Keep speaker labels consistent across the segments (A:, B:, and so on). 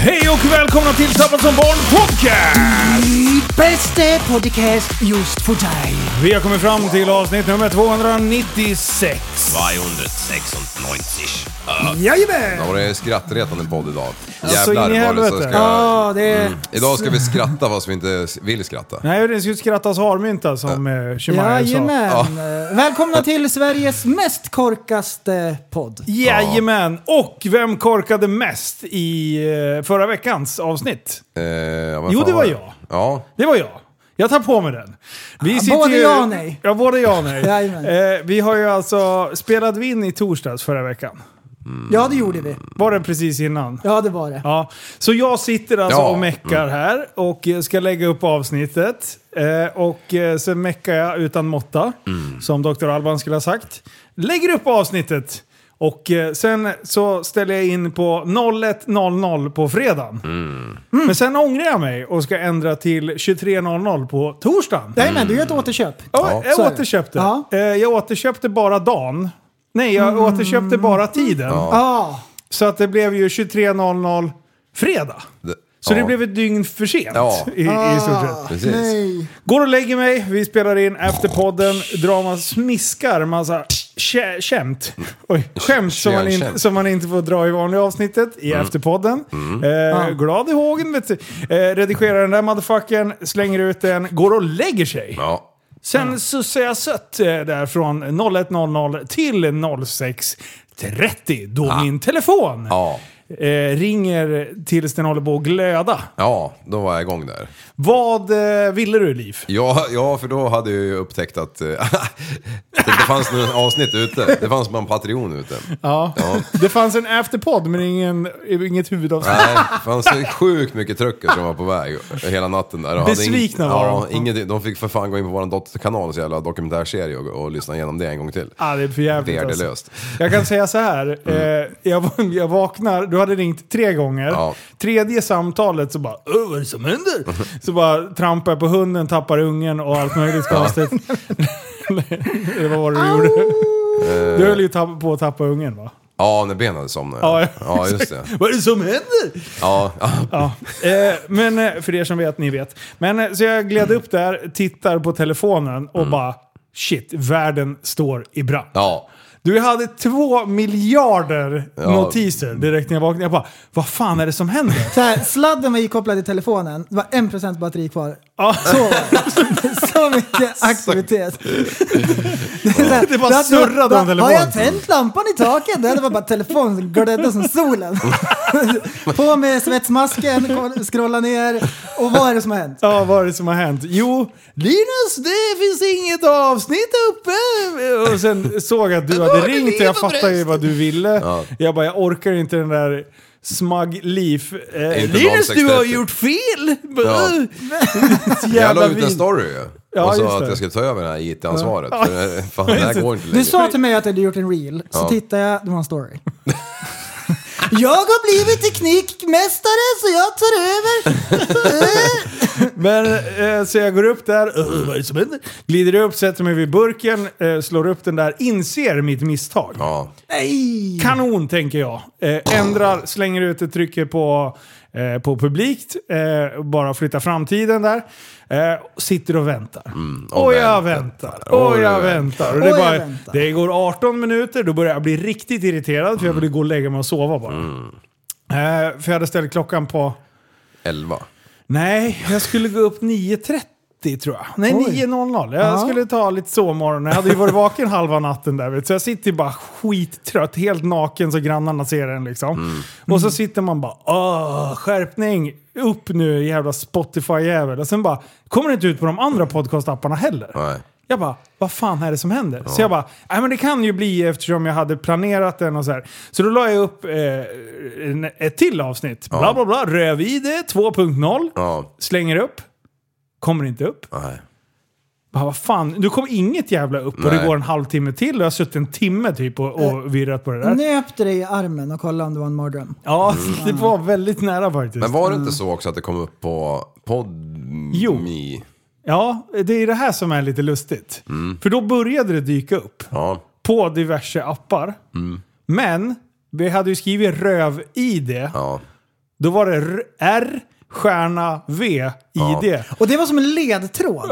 A: Hej och välkomna till Tappad som barn podcast!
B: Bästa podcast just för dig.
A: Vi har kommit fram till avsnitt nummer 296.
C: 296.
B: Jajamän!
C: Och det är skrattretande podd idag.
A: Så Alltså, in i
C: Jävlar vad det så
A: helvete.
C: ska... Mm.
A: Ja, det är...
C: Idag ska vi skratta fast vi inte vill skratta.
A: Nej, det ska ju skrattas harmynta som eh, Shemaya sa.
B: Jajamän! Välkomna till Sveriges mest korkaste podd.
A: Jajamän! Och vem korkade mest i eh, förra veckans avsnitt?
C: Eh, ja, vad
A: Jo,
C: fan
A: det var jag.
C: Ja,
A: Det var jag. Jag tar på mig den. Vi
B: Ah,
A: sitter
B: både
A: ju-
B: ja och nej.
A: Ja, både ja och nej.
B: Jajamän.
A: eh, vi har ju alltså, spelade vi in i torsdags förra veckan?
B: Ja, det gjorde vi.
A: Var det precis innan?
B: Ja, det var det.
A: Ja, så jag sitter alltså
C: Ja.
A: och meckar här och eh, ska lägga upp avsnittet. Eh, och eh, sen meckar jag utan måtta, som Dr. Alban skulle ha sagt. Lägger upp avsnittet! Och eh, sen så ställer jag in på 01.00 på fredagen. Mm. Men sen ångrar jag mig och ska ändra till 23.00 på torsdagen.
B: Jajamän, du gör ett återköp.
A: Ja,
B: så är
A: jag
B: det.
A: återköpte.
B: Ja. Mm.
A: Eh, Jag återköpte bara dagen. Nej, jag återköpte bara tiden.
B: Ja,
A: Så att det blev ju 23.00 fredag.
C: det,
A: Så
C: ja.
A: det blev ett dygn för sent
C: Ja.
A: i, i stort sett.
C: Precis.
B: nej.
A: Går och lägger mig, vi spelar in efterpodden, drama smiskar massa kä- kämt.
C: Mm.
A: Oj, skämt som man, inte,
C: Kärnkämt.
A: som man inte får dra i vanliga avsnittet i
C: Mm.
A: efterpodden. Eh, glad i hågen vet du. Eh, redigerar den där motherfuckern, slänger ut den, går och lägger sig.
C: Ja.
A: Sen sussar jag sött eh, där från 01.00 till 06.30 då min telefon
C: Ah. Ja.
A: eh, ringer tills den håller på att glöda.
C: ja, då var jag igång där.
A: Vad eh, ville du Liv?
C: Ja, ja, för då hade jag ju upptäckt att eh, det inte fanns något avsnitt ute. Det fanns bara en Patreon ute.
A: Ja. Det fanns en afterpodd men ingen, inget huvudavsnitt.
C: Nej, det fanns ju sjukt mycket trucker som var på väg hela natten där. Och hade ing-
A: Besvikna var
C: ja,
A: de.
C: de. Inget, de fick för fan gå in på vår dotterkanals jävla dokumentärserie och, och lyssna igenom det en gång till.
A: Ah, det är för jävligt alltså.
C: Värdelöst. Mm.
A: Jag kan säga så här. Eh, jag, jag vaknar, du hade ringt tre gånger.
C: Ja.
A: Tredje samtalet så bara "Åh, vad är det som händer? Så bara trampar jag på hunden, tappar ungen och allt möjligt konstigt. Eller vad var det du gjorde? Du höll ju tapp- på att tappa ungen va?
C: Ja, när Ben hade somnat.
A: Ja,
C: ja just det.
A: Vad är det som händer?
C: Ja,
A: Ja, eh, men eh, för er som vet, ni vet. Men eh, så jag gled upp där, tittar på telefonen och bara shit, världen står i brand.
C: ja.
A: Du jag hade två miljarder notiser direkt när jag vaknade. Jag bara, vad fan är det som händer?
B: Så här, sladden var ikopplad i telefonen. Det var 1% batteri kvar.
A: Ja.
B: Så, så mycket aktivitet. Det, är så här,
A: Det bara
B: du hade-
A: surrade om
B: bara, Har
A: telefonen."
B: jag tänt lampan i taket? Det var bara telefonen som glödde som solen. På med svetsmasken, kolla- scrolla ner. Och vad är det som har hänt?
A: Ja, vad är det som har hänt? Jo, Linus, det finns inget avsnitt uppe! Och sen såg jag att du hade ringt och jag fattade ju vad du ville. Jag bara, jag orkar inte den där smug liv. Eh,
C: Inte
A: Linus, du har
C: 06.30.
A: gjort fel!
C: Ja.
A: Så jävla
C: Jag la ut en
A: vid-
C: story ju.
A: Ja,
C: och
A: just
C: sa att
A: det.
C: jag skulle ta över det här IT-ansvaret. För, eh, fan, det här går inte längre.
B: Du sa till mig att du hade gjort en reel, så
C: Ja.
B: tittade jag, det var en story. Jag har blivit teknikmästare så jag tar över.
A: Men, eh, så jag går upp där, "Öh, vad är det som händer? Glider upp, sätter mig vid burken, eh, slår upp den där, inser mitt misstag.
C: Ja.
B: Nej!
A: Kanon tänker jag. Eh, ändrar, slänger ut ett trycke på eh, eh, på publikt, eh, bara flytta framtiden där. Eh, sitter och väntar.
C: Mm. och
A: och jag
C: väntar.
A: väntar. Och
C: Oj,
A: jag
C: oj.
A: väntar. Och det, är
B: Och jag
A: bara,
B: väntar.
A: det går 18 minuter, då börjar jag bli riktigt irriterad
C: Mm.
A: för jag vill gå och lägga mig och sova bara. Eh, för jag hade ställt klockan på...
C: 11.
A: Nej, jag skulle gå upp 9.30 tror jag. Nej,
B: Oj.
A: 9.00. Jag
B: Ja.
A: skulle ta lite sovmorgon. Jag hade ju varit vaken halva natten där. Vet. du. Så jag sitter ju bara skittrött, helt naken så grannarna ser en liksom.
B: Mm.
A: Och så sitter man bara åh, skärpning! Upp nu jävla Spotify-jävel. Och sen bara, kommer det inte ut på de andra podcastapparna heller.
C: Nej.
A: Jag bara, vad fan är det som händer? Så jag bara, nej men det kan ju bli eftersom jag hade planerat den och så här. Så då la jag upp eh, en- ett till avsnitt. Bla bla bla, Rövide 2.0.
C: Ja.
A: Slänger upp. Kommer inte upp.
C: Nej.
A: Bara, vad fan, nu kom inget jävla upp och det
C: Nej.
A: går en halvtimme till och jag har suttit en timme typ och, och virrat på det där.
B: Nöp dig i armen och kolla om det var en mardröm.
A: Ja, det var väldigt nära faktiskt.
C: Mm. Men var det inte så också att det kom upp på Podmi?
A: Jo. Ja, det är det här som är lite lustigt.
C: Mm.
A: För då började det dyka upp.
C: Ja.
A: på diverse appar.
C: Mm.
A: Men vi hade ju skrivit röv-id.
C: Ja.
A: Då var det r- R, stjärna, V, id.
B: Och det var som en ledtråd.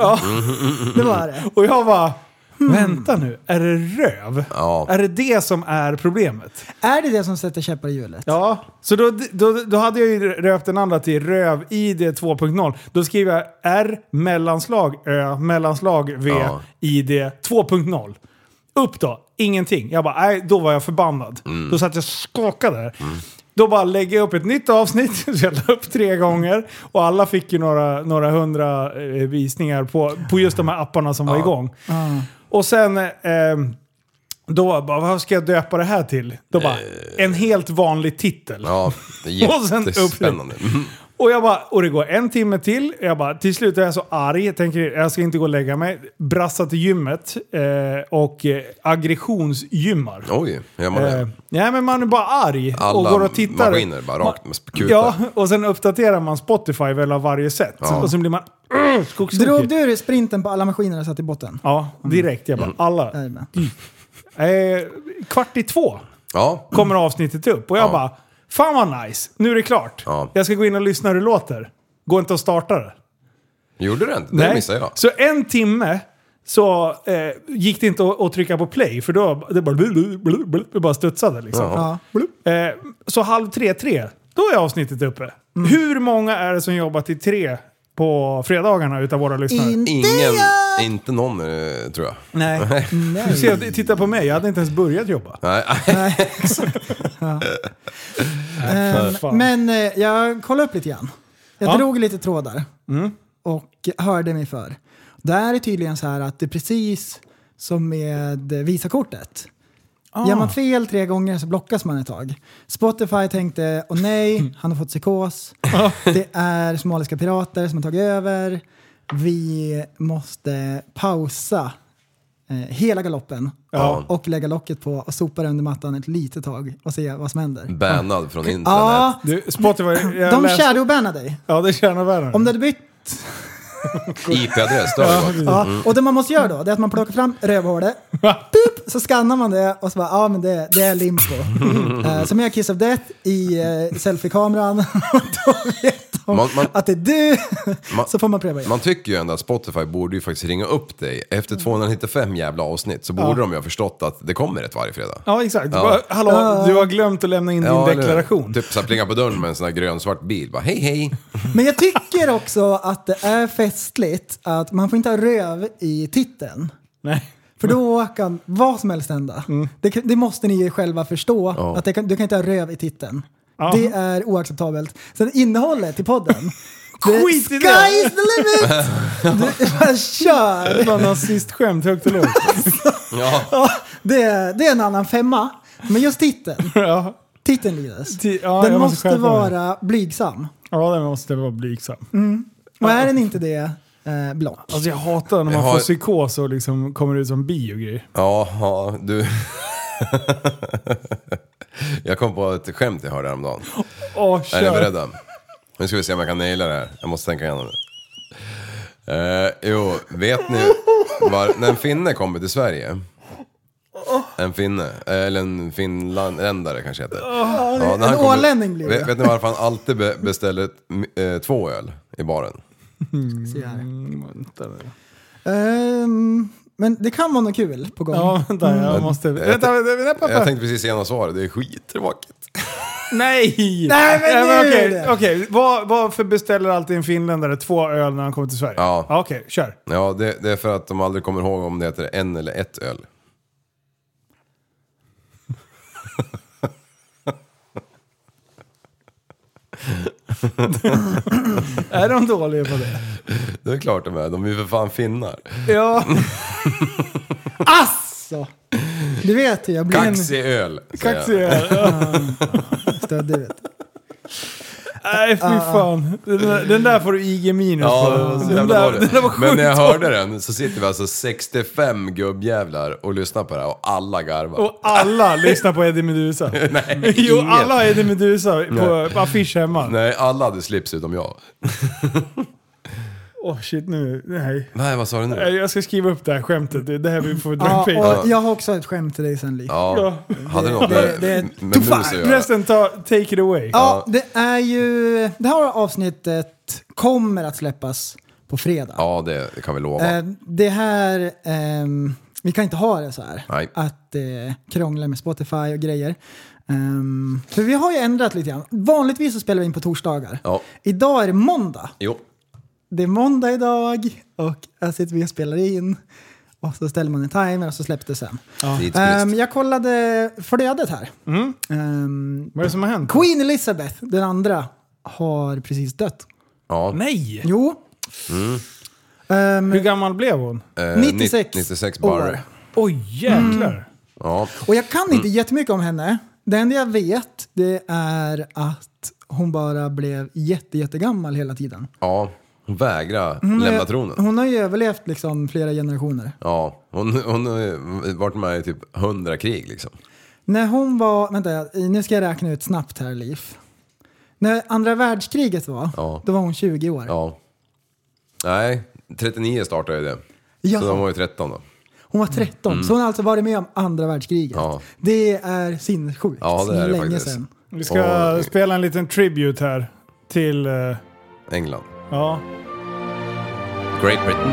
B: Det var det.
A: Och jag var "Hmm, vänta nu, är det röv?
C: Mm. Ja.
A: Är det det som är problemet?
B: Är det det som sätter käppar i hjulet?
A: Ja, så då, då, då hade jag ju röpt den andra till röv-id 2.0. Då skriver jag R, mellanslag, Ö, mellanslag, V,
C: Ja.
A: id 2.0. Upp då, ingenting. Jag bara, nej, då var jag förbannad. Då satt jag och skakade. där. Då bara lägger jag upp ett nytt avsnitt, så jag la upp tre gånger. Och alla fick ju några, några hundra eh, visningar på, på just de här apparna som var igång. Och sen... Eh, då bara, vad ska jag döpa det här till? Då bara, en helt vanlig titel.
C: Ja, det
A: Och sen
C: är
A: upp det.
C: jättespännande. Mm,
A: Och jag bara, och det går en timme till. Jag bara, till slut är jag så arg. Jag tänker, jag ska inte gå och lägga mig. Brassar till gymmet eh, och eh, aggressionsgymmar.
C: Oj, hur gör man
A: Eh,
C: det?
A: nej men man är bara arg och
C: Alla
A: går och tittar.
C: maskiner bara rakt med kutan.
A: Ja, och sen uppdaterar man Spotify väl av varje sätt.
C: Ja.
A: Och sen blir man...
B: Drog du ur sprinten på alla maskiner och satt i botten?
A: Ja, direkt. Jag bara,
C: Mm.
A: alla.
B: Jajamän.
A: Eh, kvart i två
C: Ja.
A: kommer avsnittet upp. Och jag
C: Ja.
A: bara, fan vad nice, nu är det klart.
C: Ja.
A: Jag ska gå in och lyssna hur det låter. Går inte att starta det.
C: Gjorde du inte? Det missade jag.
A: Så en timme så eh, gick det inte att, att trycka på play, för då det bara, blu, blu, blu, det bara studsade liksom.
C: Jaha.
B: Ja.
A: Eh, så halv tre, tre, då är avsnittet uppe.
B: Mm.
A: Hur många är det som jobbar till tre på fredagarna utav våra lyssnare?
B: Inte
C: Ingen,
B: jag!
C: inte någon eh, tror jag.
A: Nej. Du ser, titta på mig, jag hade inte ens börjat jobba.
C: Nej,
B: Nej, exakt. Ja. Ehm,
A: fan.
B: men eh, jag kollade upp lite grann. Jag
A: Ja. Mm.
B: drog lite trådar och hörde mig för. Där är tydligen så här att det är precis som med Visakortet.
A: Ah.
B: Gör man fel tre gånger så blockas man ett tag. Spotify tänkte, åh nej, han har fått psykos.
A: Ah.
B: Det är somaliska pirater som har tagit över. Vi måste pausa eh, hela galoppen
A: Ja.
B: och lägga locket på och sopa det under mattan ett litet tag och se vad som händer.
C: bannad från internet.
B: Ja,
A: Du, Spotify, jag
B: de
A: läste-
B: shadowbannar dig.
A: Ja, det tjänar världen.
B: Om du hade bytt...
C: IP-adress, då har det
A: Mm.
C: gått.
B: Ja. Och det man måste göra då, det är att man plockar fram rövhålet, boop, så skannar man det och så bara, ja men det, det är limpo. Eh, Som jag Kiss of Death i eh, selfiekameran. Och då vet de
C: Man- man-
B: att det är du.
C: Man-
B: Så får man pröva igen.
C: Man tycker ju ändå att Spotify borde ju faktiskt ringa upp dig. Efter
A: Mm.
C: 295 jävla avsnitt så borde de ju ha förstått att det kommer ett varje fredag.
A: Ja, exakt.
C: Ja.
A: Bara, Hallå, du har glömt att lämna in din
C: Ja, eller-
A: deklaration.
C: Typ såhär plinga på dörren med en sån här grönsvart bil. Bara hej hej.
B: Men jag tycker också att det är festligt att man får inte ha röv i titeln.
A: Nej.
B: För då kan vad som helst hända.
A: Mm.
B: Det, kan- det måste ni ju själva förstå.
C: Ja.
B: Att det kan, du kan inte ha röv i titeln.
A: Ja.
B: Det är oacceptabelt. Sen innehållet i podden. det-
A: Skit i det!
B: Sky's the limit! Du bara
A: Det
B: kör!
A: var nazistskämt högt och lågt.
C: Ja.
B: Ja, det, är- det är en annan femma. Men just titeln,
A: ja.
B: titeln Linus.
A: Ti- ja,
B: den
A: jag måste
B: måste
A: skärpa mig.
B: vara Mm. blygsam.
A: ja, den måste vara blygsam.
B: Och är den inte det, eh, block.
A: Alltså jag hatar när man
C: Jag har-
A: får psykos och liksom kommer ut som bi och grejer.
C: Ja, ja, du. jag kom på ett skämt jag hörde häromdagen.
A: Åh,
C: Är ni
A: kör!
C: beredda? Nu ska vi se om jag kan naila det här. Jag måste tänka igenom det. Eh, jo, vet ni var, när en finne kommer till Sverige eh, En finne, eller en finländare kanske heter.
B: en ålänning blir det.
C: Vet, vet ni varför han alltid be, beställer ett, eh, två öl i baren?
B: Se här.
A: Mm, Vänta
B: Mm.
A: nu.
B: Ehm, men det kan vara något kul på gång.
A: Ja, vänta, jag måste... Vänta, vänta, vänta, pappa.
C: Mm. Jag tänkte precis ge svaret, det är skittråkigt.
A: Nej!
B: Nej, men
A: Ja,
B: nu är
A: okej,
B: det.
A: okej. Var, varför beställer alltid en finländare två öl när han kommer till Sverige?
C: Ja.
A: okej, kör.
C: Ja, det, det är för att de aldrig kommer ihåg om det heter en eller ett öl.
A: Är de dåliga på det?
C: Det är klart de är, de är ju för fan finnar.
A: Ja.
B: Asså! Alltså. Du vet hur jag blir en
C: Kaxig öl! säger jag.
A: Kaxig öl.
B: stöddig. vet du.
A: Nej, fy
B: Ah.
A: fan. Den där, den där får du IG minus
C: Ja,
A: på.
C: det var så
A: den,
C: jävla
A: där,
C: dåligt.
A: den där var sjukt
C: Men när jag
A: dålig.
C: hörde den så sitter vi alltså 65 gubbjävlar och lyssnar på det här och alla garvar.
A: Och alla lyssnar på Eddie Meduza.
C: Nej,
A: Jo,
C: ingen.
A: alla har Eddie Meduza på,
C: Nej.
A: på affisch hemma.
C: Nej, alla hade slips utom jag.
A: Åh shit nu, nej.
C: Nej, vad sa du nu?
A: Nej, Eh, Jag ska skriva upp det här skämtet. Det det här vi får
B: Ja,
A: dra ja,
B: och jag har också ett skämt till dig sen Lee. Ja.
C: Ja. Hade det något
B: det-
C: med,
B: det är
C: med
B: too
C: mus
B: far.
C: att göra?
A: Förresten, ta, take it away.
B: det är ju... Det här avsnittet kommer att släppas på fredag.
C: Ja, det kan vi lova.
B: Eh, det här... ehm, vi kan inte ha det så här.
C: Nej.
B: Att eh, krångla med Spotify och grejer. Ehm, för vi har ju ändrat lite grann. Vanligtvis så spelar vi in på torsdagar.
C: Ja.
B: Idag är det måndag.
C: Jo.
B: det är måndag idag och här sitter vi och spelar in. Och så ställer man en timer och så släpps det sen.
C: Tidsbrist.
B: Ehm, jag kollade flödet här. Ehm,
A: Vad är det som har hänt?
B: Queen Elizabeth, den andra, har precis dött.
C: Ja.
A: Nej!
B: Jo. Ehm,
A: Hur gammal blev hon?
C: Eh,
B: 96,
C: 96
B: år.
C: bar.
A: Oj jäklar!
C: Ja.
B: Och jag kan
C: Mm.
B: inte jättemycket om henne. Det enda jag vet det är att hon bara blev jätte, jättegammal hela tiden.
C: ja. Hon vägrar lämna tronen.
B: Hon har ju överlevt liksom flera generationer.
C: Ja, hon, hon har ju varit med i typ 100 krig liksom.
B: När hon var, vänta, nu ska jag räkna ut snabbt här Liv. När andra världskriget var,
C: Ja.
B: då var hon 20 år.
C: Ja. Nej, 39 startade ju det.
B: Ja.
C: Så de var ju 13 då.
B: Hon var 13, så hon har alltså varit med om andra världskriget.
C: Ja.
B: Det är sinnessjukt.
C: Ja, det är det
B: länge
C: faktiskt.
B: sedan.
A: Vi ska
C: Och-
A: spela en liten tribute här till... eh,
C: England.
A: ja.
C: Great Britain.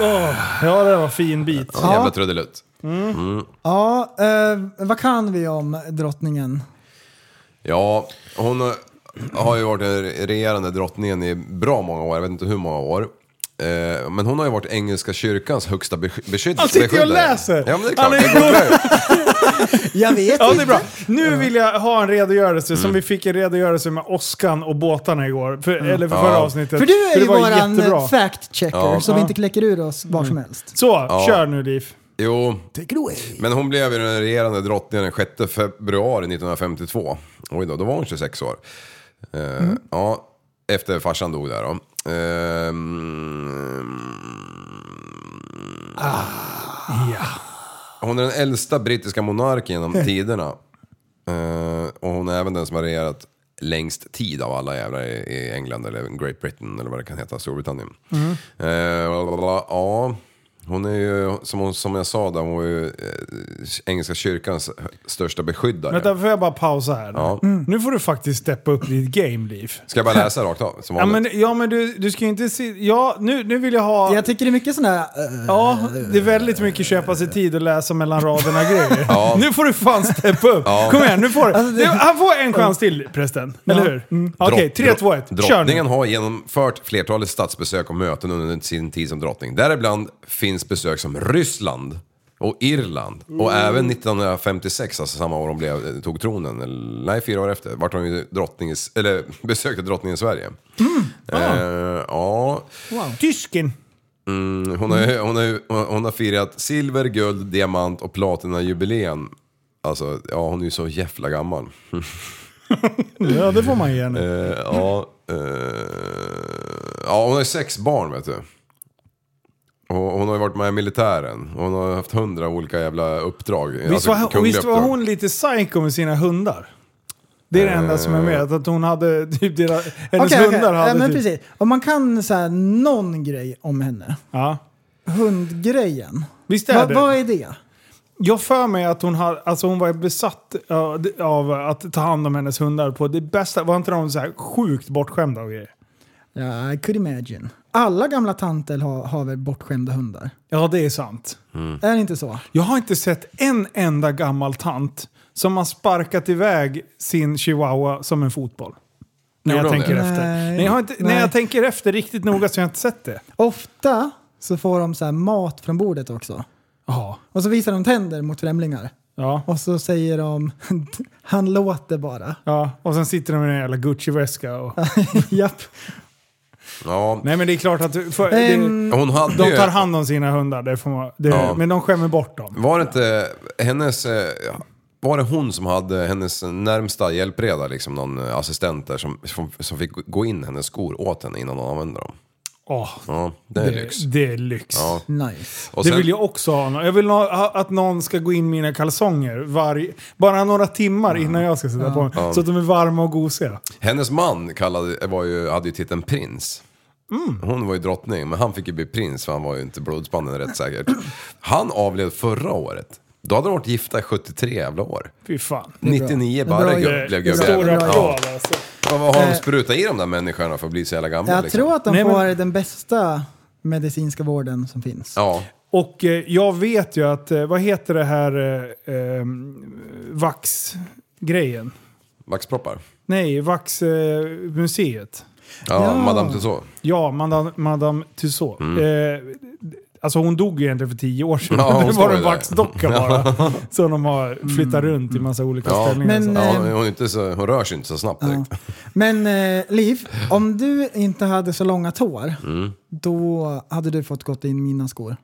A: Åh, ja, det där var fin bit.
C: Ja. Jävla trudelutt.
B: Ja, eh, vad kan vi om drottningen?
C: Ja, hon har- har ju varit den regerande drottningen i bra många år, jag vet inte hur många år. Eh, Men hon har ju varit engelska kyrkans högsta besky- beskydd-
A: Han sitter ju och
C: beskyddare.
A: läser!
C: Ja, men det
A: Han
C: är klart.
A: är
C: det går bra.
B: Jag vet
A: Ja, det
B: inte.
A: är bra. Nu vill jag ha en redogörelse
C: Mm.
A: som vi fick en redogörelse med Oskan och båtarna igår. För, Eller för förra
C: Ja.
A: avsnittet.
B: Mm. För du är
A: det
B: ju
A: var
B: våran
A: jättebra.
B: fact-checker
C: Ja.
B: som
A: Ja. Mm.
B: inte kläcker ur oss var som helst.
A: Så, kör nu Liv.
C: Jo,
B: Take it away.
C: men hon blev ju den regerande drottningen den 6 februari 1952. Oj då, då var hon 26 år. Eh,
A: Mm.
C: Ja, efter farsan dog där då. Eh, Ehm,
A: Ah,
C: Hon är den äldsta brittiska monarken genom tiderna. Eh, och hon är även den som har regerat längst tid av alla jävlar i, i England eller Great Britain eller vad det kan heta, Storbritannien.
A: Mm.
C: Eh, bla, bla, bla, ja, hon är ju, som, hon, som jag sa, där, hon var ju eh, engelska kyrkans största beskyddare.
A: Vänta, får jag bara pausa här? nu?
C: Ja.
B: Mm.
A: Nu får du faktiskt steppa upp ditt game, Liv.
C: Ska jag bara läsa rakt av? Som
A: Ja
C: vanligt?
A: men, ja, men du, du ska ju inte se... Ja, nu, nu vill jag ha...
B: Jag tycker det är mycket sådana här... eh,
A: Ja, det är väldigt mycket köpa sig tid och läsa mellan raderna grejer.
C: Ja.
A: Nu får du fan steppa upp. Kom igen, nu får du.
B: Alltså, det-
A: Nu, Han får en chans till prästen, eller hur? Mm. Okej,
C: Drott-
A: 3, 2, 1. Kör nu.
C: Drottningen har genomfört flertalet statsbesök och möten under sin tid som drottning. Däribland finns besök som Ryssland och Irland. Och
A: Mm.
C: även 1956, alltså samma år hon blev, tog tronen, eller, nej fyra år efter, vart hon ju drottning, i S-
A: Mm. Ah.
C: eller besökte drottningen i Sverige. Eh, ja,
A: Tysken.
C: Mm, hon, har, hon, har, hon har firat silver, guld, diamant och platinajubileum. Alltså, ja hon är ju så jävla gammal.
A: Ja, det får man ge henne.
C: Eh, ja, eh, ja, hon har ju sex barn vet du. Och hon har ju varit med i militären. Hon har haft hundra olika jävla uppdrag.
A: Visst
C: alltså
A: var, hon,
C: kungliga
A: visst var
C: uppdrag.
A: hon lite psycho med sina hundar? Det är det enda som jag
C: Eh.
A: vet. Att hon hade typ deras, hennes
B: Okej, okej.
A: hundar hade
B: Ja, men
A: typ...
B: precis. Om man kan så här, någon grej om henne.
A: Ja.
B: Hundgrejen.
A: Visst är
B: Va,
A: det?
B: vad är det?
A: Jag för mig att hon, har, alltså hon var besatt ja, d- av att ta hand om hennes hundar på det bästa. Var inte de så här sjukt bortskämda och grejer?
B: Ja, I could imagine. Alla gamla tanter har, har väl bortskämda hundar?
A: Ja, det är sant.
B: Är det inte så?
A: Jag har inte sett en enda gammal tant som har sparkat iväg sin chihuahua som en fotboll. När
C: Gjorde
A: jag
C: hon
A: tänker
C: det?
A: efter.
B: Nej.
A: Nej, jag har inte, när
B: Nej.
A: jag tänker efter riktigt noga så har jag inte sett det.
B: Ofta så får de så här mat från bordet också.
A: Ja.
B: Och så visar de tänder mot främlingar.
A: Ja.
B: Och så säger de han låter bara.
A: Ja, och sen sitter de med en jävla Gucci-väska och...
B: Japp.
C: Ja,
A: Nej men det är klart att du- för, det,
B: Ehm,
C: hon hade
A: de
C: ju-
A: tar hand om sina hundar, det får man, det,
C: Ja.
A: men de skämmer bort dem.
C: Var det inte hennes... eh, Var det hon som hade hennes närmsta hjälpreda, liksom någon eh, assistent där som, som, som fick gå in hennes skor åt henne innan hon använde dem?
A: Åh,
C: Ja, det är lyx.
A: Eh, det, det är lyx.
C: Ja.
B: Nice.
C: Och
A: det
C: sen-
A: vill jag också ha. Jag vill ha, att någon ska gå in mina kalsonger varje, bara några timmar innan jag ska sätta på dem. Så att de är varma och gosiga.
C: Hennes man kallade, var ju, hade ju titeln prins. Hon var ju drottning, men han fick ju bli prins för han var ju inte blodsbanden rätt säkert. Han avled förra året. Då hade de varit gifta i 73 jävla år.
A: Fy fan. Eh,
C: 99
B: Det är bra.
C: bara
B: Det
C: gubb,
B: är
C: blev
B: bra.
A: Stora
C: gubbjävel.
B: bra.
C: Ja.
A: applåd alltså.
C: Vad vad har de sprutat i de där människorna för att bli så jävla gamla?
B: Jag
C: liksom?
B: tror att de
A: Nej, men-
B: får den bästa medicinska vården som finns.
C: Ja,
A: Och eh, jag vet ju att, eh, vad heter det här eh, eh, vaxgrejen?
C: vaxproppar.
A: Nej, vaxmuseet. Eh, museet.
C: Ja,
B: Ja.
C: Madame Tussauds.
A: Ja, Madame, Madame Tussauds. Eh, alltså hon dog ju egentligen för tio år sedan.
C: Mm. Ja, hon
A: det
C: står
A: var
C: ju
A: en
C: där. Mm.
A: vaxdocka bara. Som de har flyttat runt i massa olika
C: Ja.
A: ställningar.
B: Men,
A: så.
B: eh,
C: Ja, hon, är inte så, hon rör sig inte så snabbt direkt.
B: Men eh, Liv, om du inte hade så långa tår,
C: Mm.
B: då hade du fått gått in mina skor.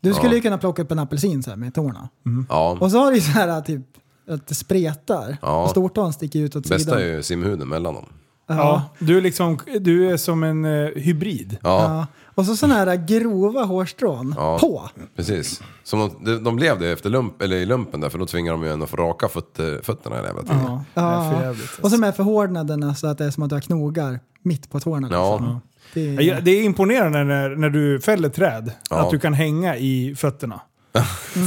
B: Du skulle ju kunna plocka upp en apelsin så här med tårna.
A: Mm.
C: Ja.
B: Och så har du ju så här typ att det spretar
C: Ja.
B: och stortån sticker ut åt
C: Bästa
B: sidan.
C: är ju simhuden mellan dem.
A: ja, du, är liksom, du är som en eh, hybrid.
C: Ja,
B: Ja. Och så sådana här grova hårstrån
C: Ja.
B: på.
C: precis. Som de, de- de blev det efter lump, eller i lumpen där, för då tvingar de ju en att få raka fötter, fötterna hela jävla tiden.
A: Det
C: Ja.
A: är för
B: Ja.
A: jävligt, alltså.
B: Och så med förhårdnaderna så att det är som att du har knogar mitt på tårna. liksom. Det är,
A: Ja, Det är imponerande när, när du fäller träd,
C: Ja. Mm.
A: att du kan hänga i fötterna.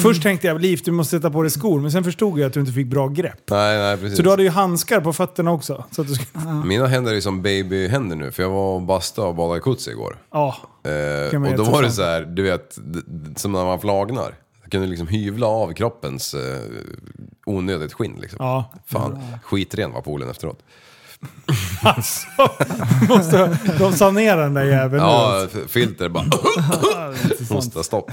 A: Först tänkte jag, Liv, du måste sätta på dig skor, men sen förstod jag att du inte fick bra grepp.
C: Nej, nej, precis.
A: Så du hade ju handskar på fötterna också. Så att du skulle,
C: Mina händer är ju som babyhänder nu, för jag var och bastade och badade i Kutsi igår.
A: ja.
C: Eh,
A: Kan man
C: och då
A: äta
C: var det
A: sånt?
C: så här, du vet, d- d- som när man flagnar. Jag kunde liksom hyvla av kroppens eh, onödigt skinn liksom.
A: Ja.
C: Fan, skitren var poolen efteråt.
A: Alltså, måste, de sanerar den där jäveln nu. alltså.
C: Ja, f- filter bara, hosta stopp.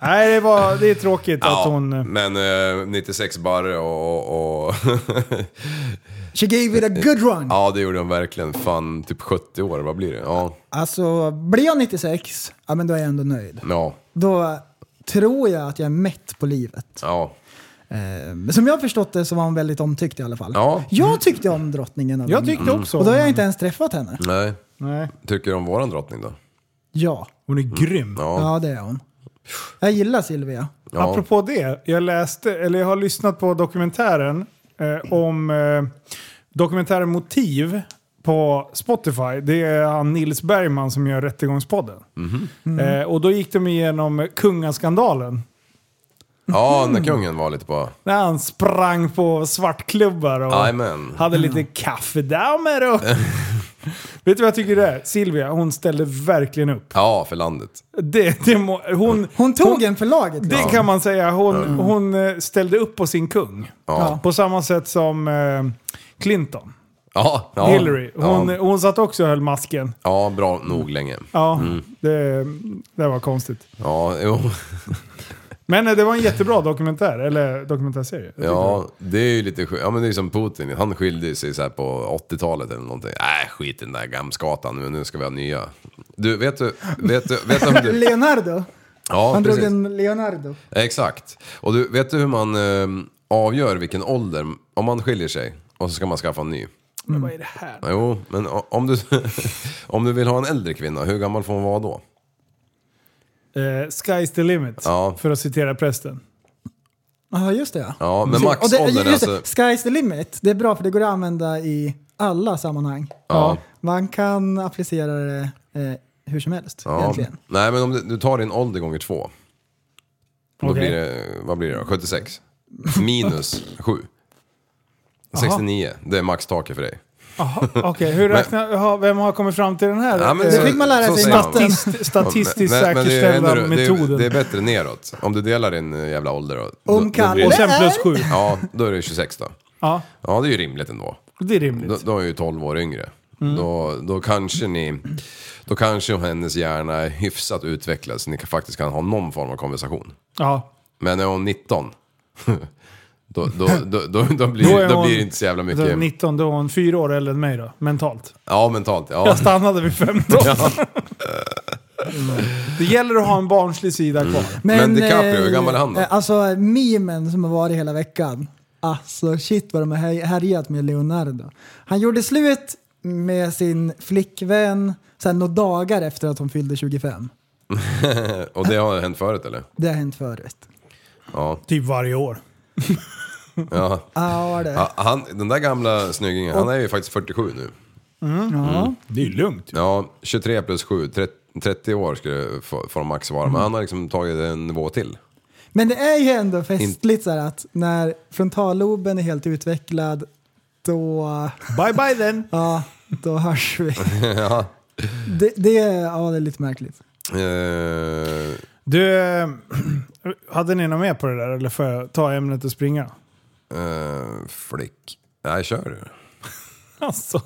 A: Nej, det, var, det är tråkigt att hon... eh,
C: Men eh, 96 barre och... och
B: She gave it a good run.
C: ja, det gjorde de verkligen. Fan, typ 70 år, vad blir det? Ja,
B: Alltså, blir jag 96, ja men då är jag ändå nöjd.
C: ja,
B: Då tror jag att jag är mätt på livet.
C: ja.
B: Eh, som jag har förstått det så var hon väldigt omtyckt i alla fall.
C: Ja.
B: Jag tyckte om drottningen. av
A: Jag
B: England.
C: Mm.
A: tyckte också
B: Och då har jag
A: om
B: inte ens träffat henne.
C: Nej,
A: Nej,
C: tycker du om våran drottning då?
B: Ja,
A: hon är grym.
C: Ja.
B: ja det är hon. Jag gillar Silvia.
C: Ja.
A: Apropå det, jag läste, eller jag har lyssnat på dokumentären eh, om eh, dokumentären Motiv på Spotify. Det är han Nils Bergman som gör Rättegångspodden.
C: Mhm.
A: Eh, och då gick de igenom kungaskandalen.
C: ja, när kungen var lite på...
A: När han sprang på svartklubbar och
C: Jajamän.
A: hade lite kaffedamer och... Vet du vad jag tycker det är? Silvia, hon ställde verkligen upp.
C: Ja, för landet.
A: Det, det må, hon,
B: Hon tog en för laget.
A: Det kan man säga. Hon, hon eh, ställde upp på sin kung.
C: Ja.
A: På samma sätt som eh, Clinton.
C: Ja, ja.
A: Hillary. Hon,
C: ja.
A: hon satt också och höll masken.
C: ja, bra nog länge.
A: Ja, det, det var konstigt.
C: Ja, jo.
A: Men eh, det var en jättebra dokumentär, eller dokumentärserie.
C: Ja, det är ju lite skö- Ja men det är som Putin, han skilde ju sig så här på 80-talet eller någonting. Nej, skit i den där gamskatan nu, nu ska vi ha nya. Du, vet du, vet du, vet du om du...
B: Leonardo.
C: Ja,
B: Han drog
C: precis.
B: en Leonardo.
C: Exakt. Och du, vet du hur man eh, avgör vilken ålder, om man skiljer sig och så ska man skaffa en ny? Mm.
A: Vad är det här?
C: Jo, men o- om du, om du vill ha en äldre kvinna, hur gammal får hon vara då?
A: Eh, sky's the limit,
C: Ja.
A: för att citera prästen.
B: Ja, just det ja.
C: Ja, men
B: Precis. Och det-
C: maxåldern
B: just det,
C: alltså.
B: Sky's the limit. Det är bra för det går att använda i alla sammanhang.
C: Ja.
B: Man kan applicera det eh, hur som helst
C: Ja.
B: egentligen.
C: Nej, men om du, du tar din ålder gånger två. Då
A: Okej.
C: blir det, vad blir det då? 76? Minus 7. 69, det är maxtaket för dig.
B: Eh,
A: Jaha, Okej, hur räknar... Jaha, vem har kommit fram till den här?
C: Ja, men
A: Eh,
B: Det fick man lära
C: så
B: sig i
C: säger man.
B: matten.
A: statist, statistiskt
C: Men- men det är
A: säkerställda
C: ändå- det är-
A: metoden.
C: Det är bättre neråt. Om du delar din eh, jävla ålder då. då-
B: Om
C: då
B: Kalle-
C: blir
A: och
C: det-
A: sen plus sju.
C: Ja, då är det 26 då.
A: Ja,
C: Ja, det är ju rimligt ändå.
A: det är rimligt.
C: Då, då är jag ju 12 år yngre.
A: Mm.
C: Då, då kanske ni... Då kanske hennes hjärna är hyfsat utvecklad så ni kan, faktiskt kan ha någon form av konversation.
A: Ja.
C: Men är hon 19? Då, då, då, då, då, blir,
A: Då
C: då,
A: är hon-
C: blir det inte så jävla
A: Då är hon
C: mycket...
A: 19, då är hon fyra år äldre än mig då, mentalt.
C: Ja, mentalt. Ja.
A: Jag stannade vid 15. Det gäller att ha en barnslig sida kvar.
C: Men DiCaprio, hur gammal är han då?
B: eh, Alltså memen som har varit hela veckan. Alltså shit vad de har här- härjat med Leonardo. Han gjorde slut med sin flickvän sen några dagar efter att hon fyllde 25.
C: Och det har hänt förut eller?
B: Det har hänt förut.
C: Ja.
A: Typ varje år.
C: ja.
B: Ja, det.
C: Ja, Han, den där gamla snyggingen, han är ju faktiskt 47 nu.
B: Ja.
A: Det är ju lugnt.
C: Ja, 23 plus 7, 30, 30 år skulle få- få de max vara.
A: Mm.
C: Men han har liksom tagit en nivå till.
B: Men det är ju ändå festligt så här att när frontalloben är helt utvecklad då,
A: Bye bye then!
B: ja, då hörs vi. det, det, är- ja, det är lite märkligt.
C: Eh,
A: Du, eh, hade ni något mer på det där eller får jag ta ämnet och springa?
C: eh, flick. Nej, kör du.
A: Alltså.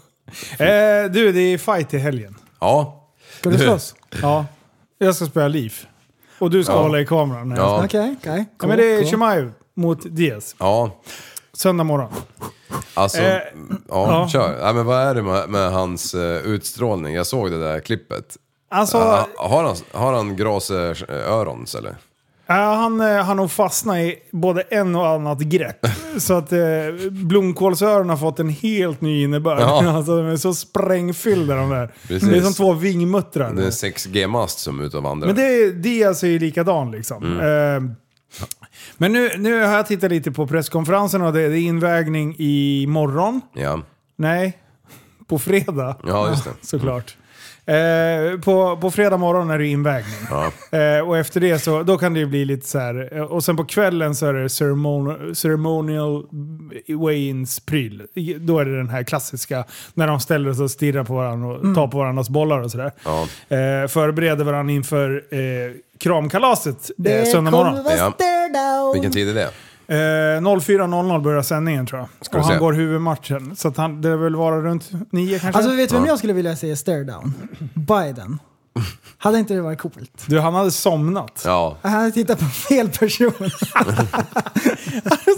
A: Eh, du, det är fight i helgen.
C: Ja.
B: Ska du slåss?
A: Ja. Jag ska spela Leaf. Och du ska
C: Ja.
A: hålla i kameran. när jag
C: Ja.
B: Okej, okej.
A: Ja, men det är Chimaev mot Diaz.
C: Ja,
A: Söndag morgon.
C: alltså.
A: Eh,
C: ja,
A: ja.
C: kör. Nej, men vad är det med, med hans eh, utstrålning? Jag såg det där klippet.
A: Alltså,
C: Ha- har han, har han grase örons eller?
A: eh, han eh, har nog fastnat i både en och annat grepp. så att eh, blomkålsöron har fått en helt ny innebörd.
C: Ja.
A: alltså, de är så sprängfyllda de där.
C: Precis.
A: Det är som två vingmuttrar.
C: Det är en 6G-mast som är ute och vandrar.
A: Men det, Diaz är alltså ju likadan liksom.
C: Mm.
A: Eh, men nu, nu har jag tittat lite på presskonferensen och det, det är invägning imorgon.
C: Ja.
A: Nej, på fredag.
C: ja, just det. Mm.
A: Såklart. Eh, på, på fredag morgon är det invägning.
C: Ja.
A: Eh, och efter det så då kan det ju bli lite så här. eh, Och sen på kvällen så är det ceremon- ceremonial weigh-ins pryl. I- Då är det den här klassiska när de ställer sig och stirrar på varandra och tar på varandras bollar och sådär.
C: Mm. Ja.
A: Eh, förbereder varandra inför eh, kramkalaset eh,
B: Det
A: söndag morgon.
B: kommer vara
C: Ja.
B: stare down.
C: Vilken tid är det?
A: Eh, 04.00 börjar sändningen tror jag.
C: Ska vi
A: och han
C: se.
A: går huvudmatchen. Så att han, det vill vara runt nio kanske.
B: Alltså vet du vem jag skulle vilja se stare down? Biden. Hade inte det varit coolt?
A: du, han hade somnat.
C: Ja.
B: Han hade tittat på fel person.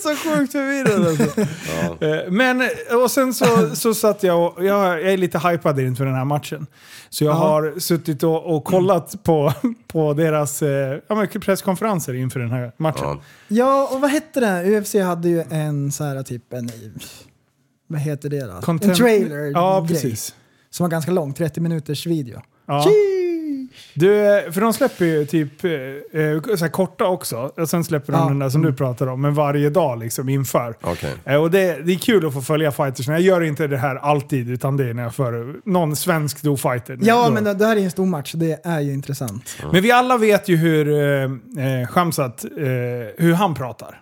A: så sjukt förvirrad alltså. Eh, Men, och sen så, så satt jag och, jag, jag är lite hypad inför den här matchen. Så jag har suttit och, och kollat på, på deras eh, ja, men presskonferenser inför den här matchen.
C: Ja.
B: Ja, och vad hette det? UFC hade ju en så här typ en... Vad heter det då?
A: Content-
B: en trailer
A: Ja,
B: grej,
A: precis.
B: Som var ganska lång, 30 minuters video.
A: Ja. Du, eh, för de släpper ju typ eh, eh, så här korta också. Och sen släpper de
B: Ja. Mm.
A: den där som du pratar om, men varje dag liksom inför.
C: Okej.
A: Eh, Och det, det är kul att få följa fighters. Jag gör inte det här alltid, utan det är när jag för någon svensk do fighter.
B: Ja,
A: Då-
B: men det, det här är ju en stor match, det är ju intressant.
A: Men vi alla vet ju hur eh, eh, Shamsat, eh, hur han pratar.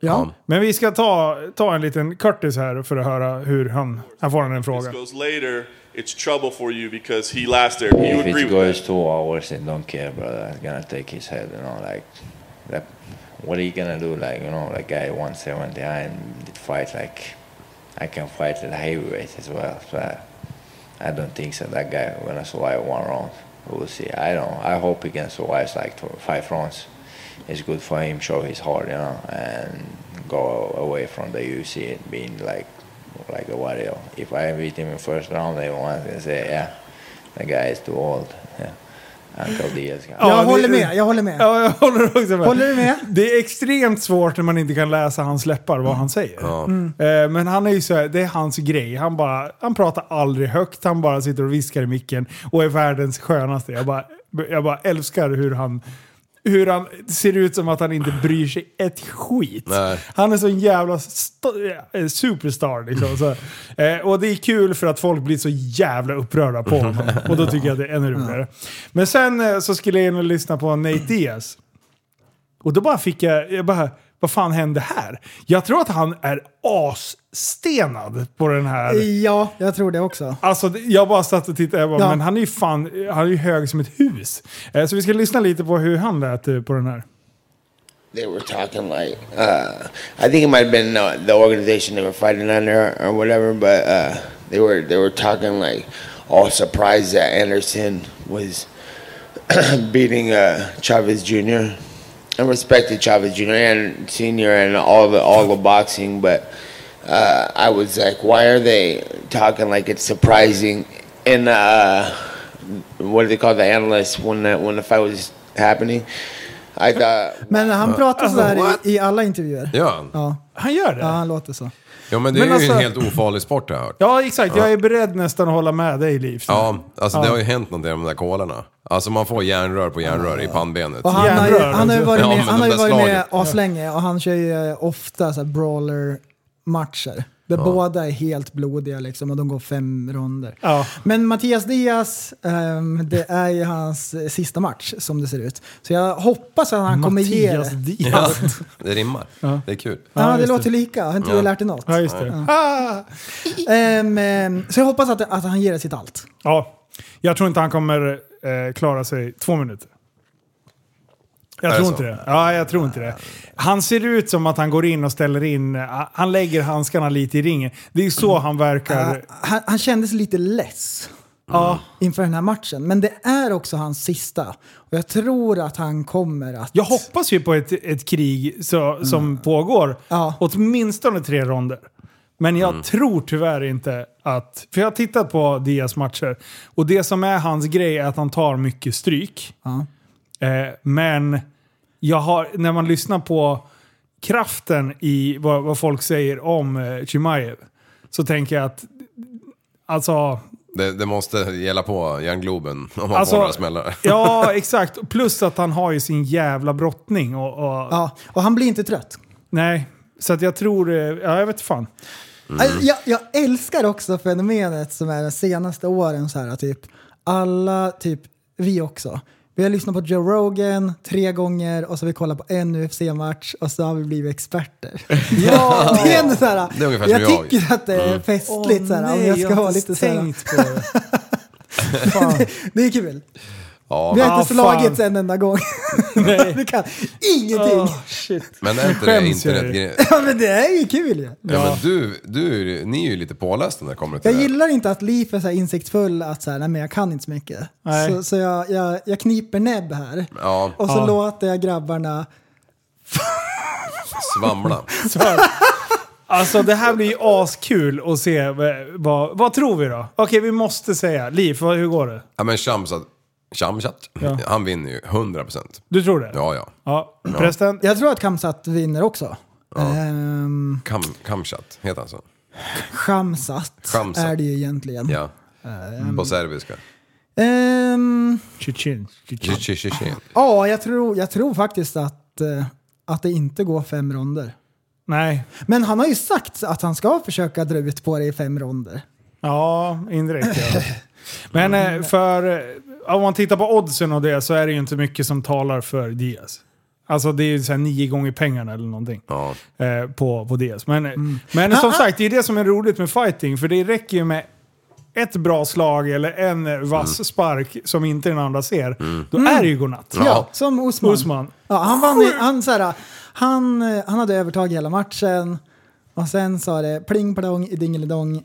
B: Ja.
A: Men vi ska ta, ta en liten kurtis här för att höra hur han... Här får han en
D: this
A: fråga.
D: goes later, it's trouble for you because he last there. You
E: if
D: agree
E: it
D: with
E: goes
D: that?
E: two hours and don't care, brother, I'm gonna take his head, you know, like, like what are you gonna do? Like, you know, like guy 170, I'm did fight like, I can fight at heavyweight as well, so I, I don't think so. That guy gonna survive one round. We'll see. I don't. I hope he can survive like two, five rounds. it's good for him show his heart, you know, and go away from the UFC and being like like a warrior. If I beat him in first round, everyone's gonna say, yeah, the guy is too old. Yeah. Uncle Diaz. guy.
A: Ja,
B: jag
A: det-
B: håller med, jag håller med.
A: Ja, jag håller också med.
B: Håller du med?
A: Det är extremt svårt när man inte kan läsa hans läppar vad han säger. Eh, Men han är ju så här, det är hans grej. Han, bara, han pratar aldrig högt, han bara sitter och viskar i micken och är världens skönaste. Jag bara, jag bara älskar hur han, hur han ser ut som att han inte bryr sig ett skit.
C: Nej.
A: Han är så jävla st- eh, superstar liksom. Så, eh, och det är kul för att folk blir så jävla upprörda på honom. Och då tycker jag att det är ännu roligare. Men sen eh, så skulle jag in och lyssna på Nate Diaz. Och då bara fick jag, jag bara, vad fan hände här? Jag tror att han är asstenad på den här.
B: Ja, jag tror det också.
A: Alltså det- jag bara satt och tittade, jag bara,
B: Ja.
A: men han är ju fan, han är ju hög som ett hus. Eh, Så vi ska lyssna lite på hur han lät eh, på den här.
F: they were talking like uh, I think it might have been uh, the organization they were fighting under or whatever, but uh, they were they were talking like all surprised that Anderson was beating uh, Chavez Jr. I respected Chavez Jr. and Senior and all the all the boxing, but uh, I was like, why are they talking like it's surprising? And uh, what do they call the analysts when the, when the fight was happening? I thought.
B: Men han pratar sådär i, i alla intervjuer.
C: Ja.
B: Ja.
A: Han gör det?
B: ja, han låter så.
C: ja, men det
A: Men
C: är ju
A: alltså-
C: en helt ofarlig sport har jag hört.
A: Ja, exakt. Jag är beredd nästan att hålla med dig, Liv.
C: Ja, alltså det har ju hänt någonting med de där kolarna. Alltså man får järnrör på järnrör i pannbenet.
B: Och han, har ju,
A: Järnrör,
B: han har ju varit
C: Ja,
B: med,
C: men
B: han
C: de
B: har ju
C: där
B: varit med
C: slagen.
B: aslänge och han kör ju eh, ofta så här brawler-matcher. Där båda är helt blodiga liksom och de går fem ronder.
A: Ja.
B: Men Mattias Diaz, ehm, det är ju hans eh, sista match som det ser ut. Så jag hoppas att han kommer ge
A: Mattias
B: det.
A: Diaz.
C: Ja, det rimmar. Det är kul.
B: Ja, det
A: just
B: låter lika. Har inte du lärt dig något?
A: Ja, just det.
B: Ehm, ehm, så jag hoppas att, att han ger det sitt allt.
A: Ja. Jag tror inte han kommer eh, klara sig två minuter. Jag
C: Är
A: tror
C: det
A: inte
C: så?
A: det. Ja, jag tror inte det. Han ser ut som att han går in och ställer in, eh, han lägger handskarna lite i ringen. Det är ju så han
B: Ah,
A: verkar.
B: han, han kändes lite less
A: Ja.
B: inför den här matchen. Men det är också hans sista. Och jag tror att han kommer att...
A: Jag hoppas ju på ett, ett krig så, som pågår
B: Mm. Ja. Mm.
A: åtminstone tre ronder. Men jag tror tyvärr inte att... För jag har tittat på Dias matcher och det som är hans grej är att han tar mycket stryk.
B: Ja.
A: Eh, men jag har, när man lyssnar på kraften i vad, vad folk säger om eh, Chimaev så tänker jag att... Alltså...
C: Det, det måste gälla på järngloben om man
A: Alltså-
C: får några smällar.
A: Ja, exakt. Plus att han har ju sin jävla brottning och... och
B: Ja, och han blir inte trött.
A: Nej, så att jag tror... eh, Ja, jag vet fan.
C: Mm.
B: Alltså, Jag, jag älskar också fenomenet som är de senaste åren så här typ alla, typ vi också. Vi har lyssnat på Joe Rogan tre gånger och så har vi kollat på en UFC-match och så har vi blivit experter. Ja! det är ändå så här,
C: Det är ungefär
B: jag
C: som jag. Mm.
B: tycker att det är festligt så här, om jag ska vara lite så här,
A: tänkt på det. Fan.
B: Det är kul.
C: Ja,
B: Vi har
A: Ah,
B: inte
A: fan.
B: slagits en enda gång. Vi kan ingenting.
A: Oh, shit.
C: men är inte det
A: skäms jag
C: internetgrejen?
B: Ja, men det är ju kul ju.
C: Ja, men du, du, ni är ju lite pålästa när det kommer till
B: Jag
C: det.
B: gillar inte att Leif är så här insiktsfull att så här, nej men jag kan inte så mycket.
A: Nej.
B: Så, så jag, jag, jag kniper näbb här.
C: Ja,
B: Och så låter jag grabbarna...
C: svamla.
A: Så här. Alltså det här blir ju askul att se. eh, Vad, vad tror vi då? Okej, vi måste säga. Liv, vad- hur går det?
C: Ja, men Shamsat, Shamsat, han vinner ju 100%.
A: Du tror det?
C: Ja, ja.
A: ja. Prästen?
B: Jag tror att Kamsat vinner också. Ehm,
C: Kam, kamchat heter han så?
B: Shamsat
C: Shamsat.
B: är det ju egentligen.
C: Ja. På serbiska.
B: Ehm,
A: Tjitjin, tjitjin.
C: Tjitjitjitjin.
B: Ja, jag tror, jag tror faktiskt att, eh, att det inte går fem ronder.
A: Nej.
B: Men han har ju sagt att han ska försöka dra ut på det i fem ronder.
A: Ja, indirekt ja. Men eh, för... eh, Om man tittar på oddsen och det så är det ju inte mycket som talar för Diaz. Alltså det är ju så här nio gånger pengarna eller någonting.
C: Ja.
A: eh, på, på DS. Men, men som sagt, det är det som är roligt med fighting. För det räcker ju med ett bra slag eller en vass spark som inte den andra ser. Då är det ju godnatt.
B: Ja, som Osman.
A: Osman.
B: Ja, han, vann, i- han, så här, han, eh, han hade övertag i hela matchen och sen sa det pling plong i dingelidong.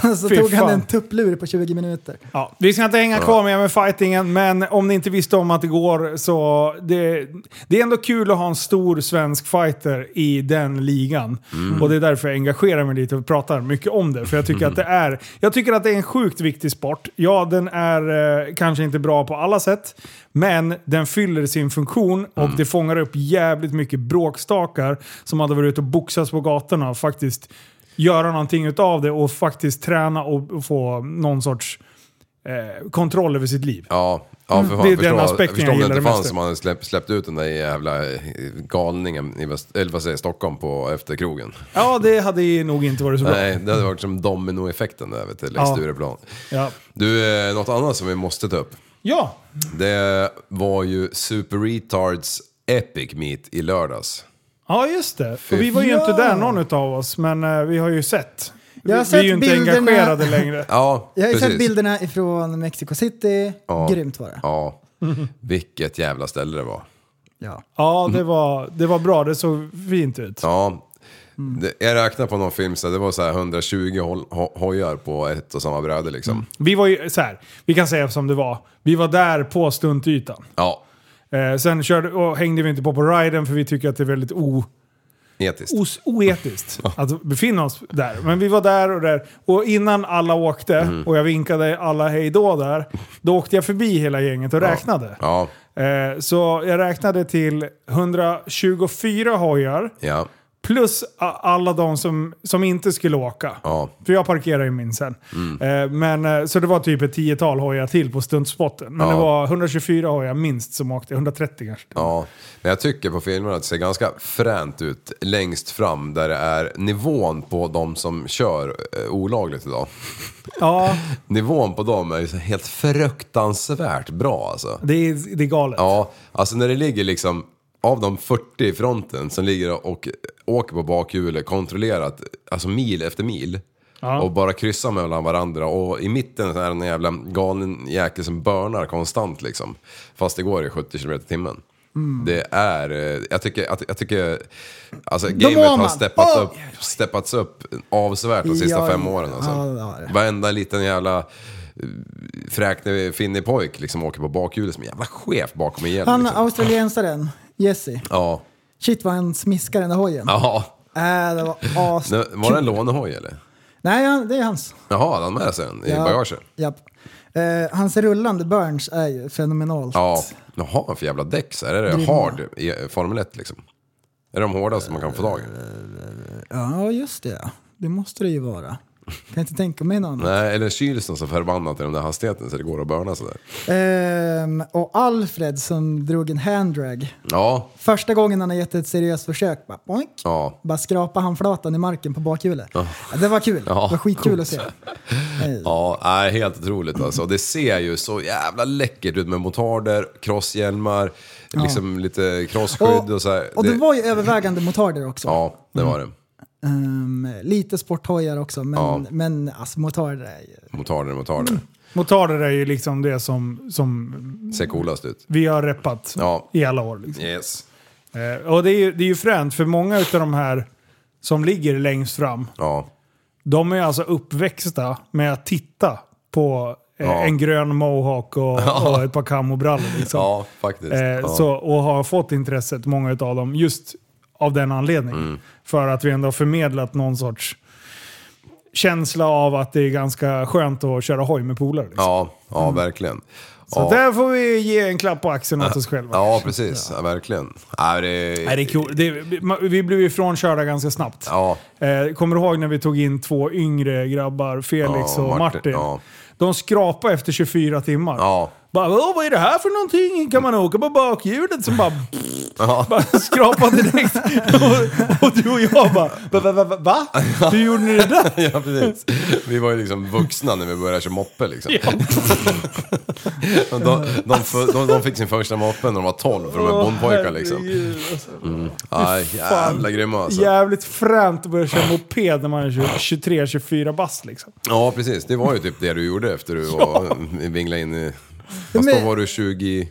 B: Så
A: fy
B: tog han
A: fan.
B: en tupplur på 20 minuter.
A: Ja, vi ska inte hänga kvar med, med fightingen, men om ni inte visste om att det går så... Det, det är ändå kul att ha en stor svensk fighter i den ligan. Och det är därför jag engagerar mig lite och pratar mycket om det. För jag tycker, att, det är, jag tycker att det är en sjukt viktig sport. Ja, den är eh, kanske inte bra på alla sätt, men den fyller sin funktion och det fångar upp jävligt mycket bråkstakar som hade varit ute och boxats på gatorna och faktiskt göra någonting utav det och faktiskt träna och och få någon sorts eh, kontroll över sitt liv.
C: Ja, ja för fan,
A: Mm. Det är den
C: förstå,
A: aspekten
C: förstå
A: jag
C: om det
A: gillar
C: inte
A: det
C: fanns
A: mesta.
C: som hade släppt, släppt ut den där jävla eh, galningen i väst, eller vad säger, jag, Stockholm på efterkrogen.
A: Ja, det hade ju nog inte varit så bra.
C: Nej, det hade varit som dominoeffekten där vet du, längs
A: Ja.
C: Stureplan.
A: Ja.
C: Du, eh, något annat som vi måste ta upp.
A: ja,
C: Det var ju Super Retards Epic Meet i lördags.
A: ja just det. Och vi var ju
B: Ja.
A: inte där någon utav oss, men eh, vi har ju sett.
B: Jag har
A: vi
B: sett
A: är ju inte
B: bilderna.
A: engagerade längre.
C: Ja,
B: Jag har ju sett
C: precis.
B: bilderna ifrån Mexico City.
C: Ja.
B: Grymt var det.
C: Ja, vilket jävla ställe det var.
B: Ja.
A: Ja, det var, det var bra. Det såg fint ut.
C: Ja, det, jag räknar på någon film så det var så här 120 hol, ho, hojar på ett och samma bräde liksom.
A: Vi var ju så här, vi kan säga som det var. Vi var där på stuntytan.
C: Ja,
A: Eh, sen körde, och hängde vi inte på på riden för vi tycker att det är väldigt o...
C: etiskt.
A: os- oetiskt att befinna oss där. Men vi var där och där. Och innan alla åkte
C: Mm.
A: och jag vinkade alla hej då där, då åkte jag förbi hela gänget och räknade.
C: Ja,
A: Eh, så jag räknade till 124 hojar
C: ja,
A: plus a- alla de som, som inte skulle åka.
C: ja. Mm.
A: För jag parkerar ju min sen. Eh, men, eh, så det var typ ett tiotal hojar till på stuntspotten. Men
C: Ja.
A: det var 124 hojar minst som åkte, 130 kanske.
C: Ja, men jag tycker på filmerna att det ser ganska fränt ut längst fram där det är nivån på de som kör eh, olagligt idag.
A: Ja,
C: Nivån på dem är ju så helt fruktansvärt bra alltså.
A: det är, det är galet.
C: Ja, alltså när det ligger liksom av de 40 i fronten som ligger och åker på bakhjulet kontrollerat, alltså mil efter mil. Och bara kryssar mellan varandra och i mitten så är det en jävla galen jäkel som börnar konstant liksom. Fast det går i 70 km i timmen.
B: Mm.
C: Det är, eh, jag tycker, jag, jag tycker, alltså gamet
B: mår
C: har
B: man.
C: steppat
B: Åh!
C: upp, steppats upp avsevärt de sista
B: Ja,
C: fem åren alltså.
B: ja, det har det.
C: Varenda liten jävla eh, fräknig finnig pojk liksom åker på bakhjulet som en jävla chef bakom igen.
B: Han
C: liksom.
B: australiensaren, Jesse.
C: Ja.
B: Shit vad han smiskar den där hojen.
C: Ja.
B: Äh, det var as...
C: Nu- Var det en lånehoj eller?
B: Nej, han- det är hans.
C: Jaha, hade han med sig en i
B: Ja.
C: bagaget?
B: Japp. Eh, hans rullande burns är ju fenomenalt.
C: Ja. Jaha, vad för jävla däck så här? Är det
B: Grymma.
C: hard i Formel 1 liksom? Är de hårdaste man kan få tag i?
B: Eh. Ja, just det. ja. Det måste det ju vara. Kan inte tänka mig någon annan.
C: Nej, eller kyls de så förbannat i den där hastigheten så det går att börna sådär?
B: Ehm, och Alfred som drog en handdrag.
C: Ja,
B: Första gången han har gett ett seriöst försök, bara boink.
C: ja.
B: Bara skrapa handflatan i marken på bakhjulet. Ja, det var kul. det var skitkul att se. Eh,
C: Ja, nej, helt otroligt alltså. Det ser ju så jävla läckert ut med motarder, crosshjälmar, liksom lite crossskydd och så här.
B: och det, var Mm. ju övervägande motarder också.
C: Ja, det var det.
B: Ehm, lite sporthojar också, men, men alltså, motarder är ju...
C: Motarder, motarder.
A: Motarder är ju liksom det som, som
C: Ser coolast ut.
A: vi har reppat
C: Ja.
A: i alla år.
B: Mm.
A: Liksom.
C: Yes.
A: Eh, och det är, ju, det är ju fränt för många av de här som ligger längst fram,
C: Ja.
A: de är alltså uppväxta med att titta på eh,
C: Ja.
A: en grön mohawk och, och ett par camobrallor. Liksom.
C: Ja, faktiskt.
A: Eh,
C: ja.
A: så, och har fått intresset, många av dem, just av den anledningen.
C: Mm.
A: För att vi ändå har förmedlat någon sorts känsla av att det är ganska skönt att köra hoj med polare. Liksom.
C: Ja, ja verkligen.
A: Så
C: ja.
A: där får vi ge en klapp på axeln åt oss själva.
C: ja, precis. Ja, verkligen. Ja, det...
A: Nej, det är cool. det, vi- vi blev ju frånkörda ganska snabbt.
C: Ja,
A: Eh, kommer du ihåg när vi tog in två yngre grabbar, Felix
C: Ja,
A: och
C: Martin,
A: Martin?
C: ja.
A: De skrapade efter 24 timmar.
C: ja,
A: Bara, "Åh, vad är det här för någonting? Kan man åka på bakhjulet? Som bara,
C: ja.
A: bara skrapade direkt. och, och du och jag bara, va? va, va, va, va? Hur gjorde ni det där?
C: ja, precis. Vi var ju liksom vuxna när vi började köra moppe liksom. Och de, de, för- de, de fick sin första moppe när de var 12, för de är bondpojkar liksom.
A: Herregud, alltså.
C: Ja, jävla grymma alltså.
A: Jävligt fränt att börja köra moped när man är 23-24 bast liksom.
C: Ja, precis. Det var ju typ det du gjorde efter du var, vinglade in i... Fast då
B: Men-
C: var du 20...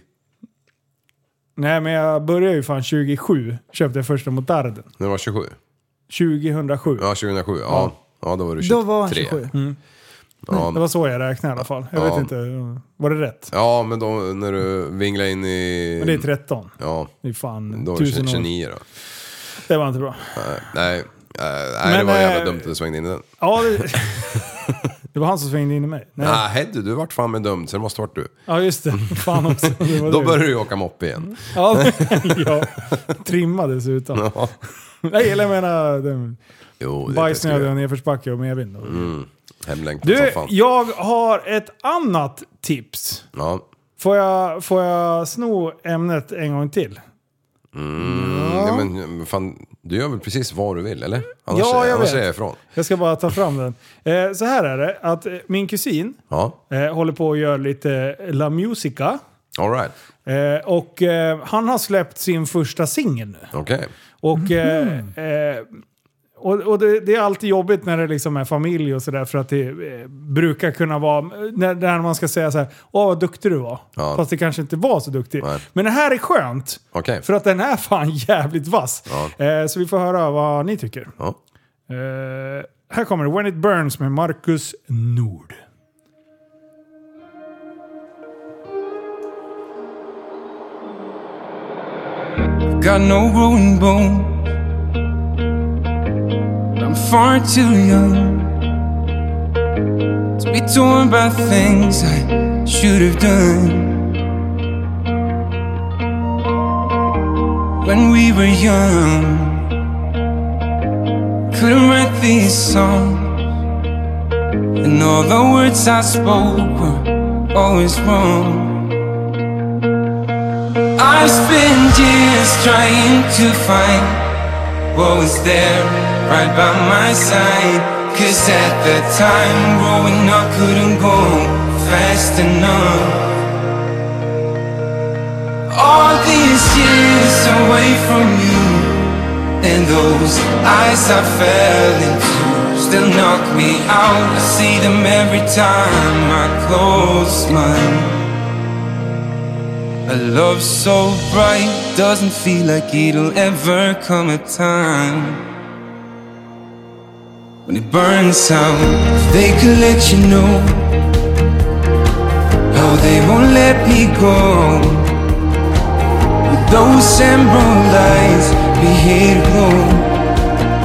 A: Nej men jag började ju fan 27, köpte jag första motarden.
C: När du var 27?
A: 2007.
C: Ja, 2007. Ja. Ja, då var du 23.
B: Då var han 27.
A: Mm. Det
C: Ja,
A: var så jag räknade i alla fall. Jag
C: Ja.
A: vet inte, var det rätt?
C: ja men då när du vinglade in i...
A: Men det är 13.
C: Ja,
A: Det är fan
C: Mm. då var du
A: tusen år.
C: 29 då.
A: Det var inte bra.
C: Nej, nej, eh, nej det
A: Men,
C: var
A: eh,
C: jävla dumt att du svängde in i den.
A: Ja, det, det var han som svängde in i mig. Nej.
C: Nej, Heddy, du vart fan med dömd, så det måste varit du.
A: Ja, just det. Fan också. Det Mm. var
C: Mm. Då
A: du.
C: började du ju åka moppe igen.
A: Ja, ja. Trimma dessutom.
C: Ja.
A: Nej, eller jag menar den-
C: Jo, det är
A: bajsnödig och
C: det.
A: nedförsbacke och medvind.
C: Hemlängtan som
A: Du,
C: Mm, fan.
A: jag har ett annat tips.
C: Ja.
A: Får jag, får jag sno ämnet en gång till?
C: Mm, Ja, men eh, fan, du gör väl precis vad du vill, eller? Annars,
A: Ja, jag
C: annars
A: vet.
C: är jag ifrån.
A: Jag ska bara ta fram den. Eh, så här är det, att eh, min kusin
C: Ja,
A: eh, håller på att göra lite La Musica.
C: all right.
A: Eh, och eh, han har släppt sin första singel nu.
C: Okej. Mhm.
A: Och, eh, eh, och, och det, det är alltid jobbigt när det liksom är familj och sådär för att det eh, brukar kunna vara när, när man ska säga så här, åh vad duktig du var.
C: Ja.
A: Fast det kanske inte var så duktig.
C: Nej.
A: Men det här är skönt.
C: Okej.
A: För att den är fan jävligt vass.
C: Ja.
A: Eh, så vi får höra vad ni tycker.
C: Ja.
A: Eh, här kommer det, When It Burns med Marcus Nord.
G: Got no growing bone. I'm far too young to be torn by things I should have done. When we were young, couldn't write these songs, and all the words I spoke were always wrong. I've spent years trying to find what was there right by my side. Cause at the time, growing up couldn't go fast enough. All these years away from you, and those eyes I fell into still knock me out. I see them every time I close mine. A love so bright doesn't feel like it'll ever come a time when it burns out. They could let you know how they won't let me go. With those emerald eyes, be here to glow.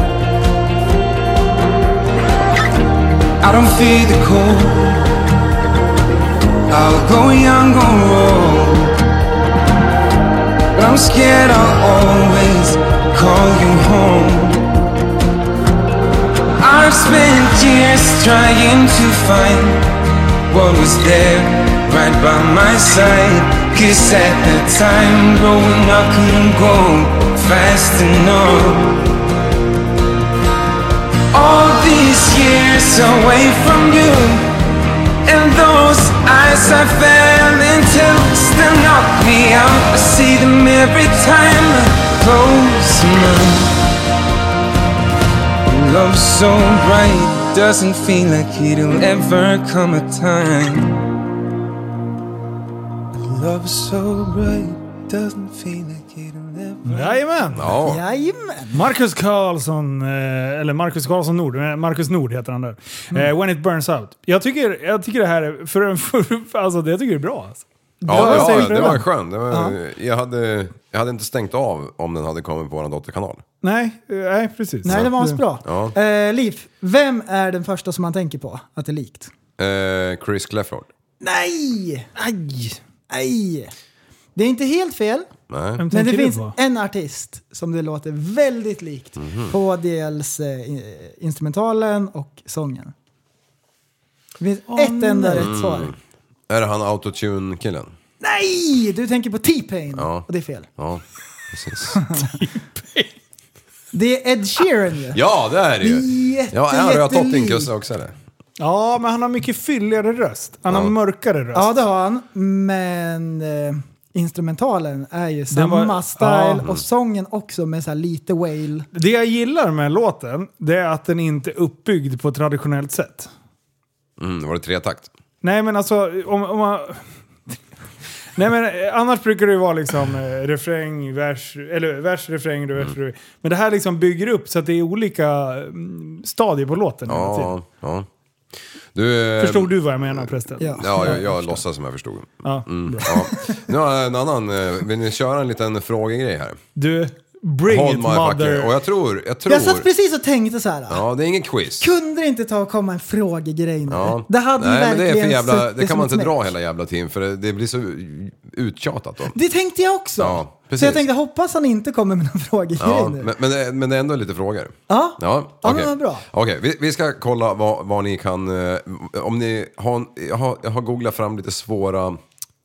G: I don't fear the cold. I'll go young, go roll. But I'm scared I'll always call you home. I've spent years trying to find what was there right by my side. Cause at the time, growing up couldn't go fast enough. All these years away from you. And those eyes I fell into still knock me out. I see them every time I close my eyes. Love so bright doesn't feel like it'll ever come a time. Love so bright doesn't feel like it'll ever.
A: Jajamän!
C: Mm. Ja.
B: Jajamän!
A: Marcus Karlsson, eh, eller Marcus Karlsson Nord, eh, Marcus Nord heter han där.
B: Mm.
A: Eh, When it burns out. Jag tycker, jag tycker det här är, för, en- för, alltså det jag tycker jag är bra. Alltså.
C: Ja,
A: var
C: ja,
A: säkert
C: det
A: redan.
C: var skönt. Det var, jag, hade, jag hade inte stängt av om den hade kommit på vår dotterkanal.
A: Nej, eh, nej precis.
B: Nej, det var asbra.
C: Ja.
B: Eh, Liv, vem är den första som man tänker på att det är likt?
C: Eh, Chris Clefford.
B: Nej! Aj! Aj! Det är inte helt fel,
C: Nej.
A: Vem
B: men det
A: tänker du
B: finns
A: på? Mhm.
B: en artist som det låter väldigt likt på dels eh, i- instrumentalen och sången. Det finns ett enda rätt
A: Mm.
B: svar.
C: Är det han autotune-killen?
B: Nej! Du tänker på T-Pain
C: Ja.
B: och det är fel.
C: Ja, precis.
B: Det är Ed Sheeran ju.
C: Ja, det är det ju.
B: Jätte,
C: Ja, är han Röda
B: jättelik.
C: Tottingkusse också eller?
A: Ja, men han har mycket fylligare röst. Han har mörkare röst.
B: Ja, det har han. Men eh, instrumentalen är ju
A: var-
B: samma
A: ja.
B: style
A: Mm.
B: och sången också med så här lite wail.
A: Det jag gillar med låten, det är att den inte är uppbyggd på ett traditionellt sätt.
C: Mm, var det tretakt?
A: Nej, men alltså om, om man... Nej men eh, annars brukar det ju vara liksom eh, refräng, vers, eller vers, refräng, vers,
C: Mm.
A: refräng. Men det här liksom bygger upp så att det är olika mm, stadier på låten hela tiden.
C: Ja, ja. Du, eh,
A: Förstod du vad jag menar prästen?
C: Ja, jag, jag låtsas som jag förstod.
A: Ja,
C: Mm, ja. Nu har jag en annan, eh, vill ni köra en liten frågegrej här?
A: Du, bring
C: Hold
A: it
C: my fucker. Och
A: mother.
C: jag tror, jag tror...
B: Jag satt precis och tänkte så här.
C: Ja, det är ingen quiz.
B: Kunde det inte ta och komma en frågegrej nu?
C: Ja.
B: Det hade ju
C: Nej, men
B: verkligen
C: det, är för jävla,
B: suttit
C: det
B: som
C: kan man
B: ett
C: inte
B: smäck.
C: dra hela jävla tiden för det, det blir så uttjatat då.
B: Det tänkte jag också.
C: Ja, precis.
B: så jag tänkte hoppas han inte kommer med någon frågegrej
C: Ja,
B: nu.
C: men, men, det, men det är ändå lite frågor.
B: Ja.
C: Ja,
B: Ja,
C: okej.
B: men vad bra.
C: Okej, vi, vi ska kolla vad, vad ni kan... eh, Om ni har, en- jag, har, jag har googlat fram lite svåra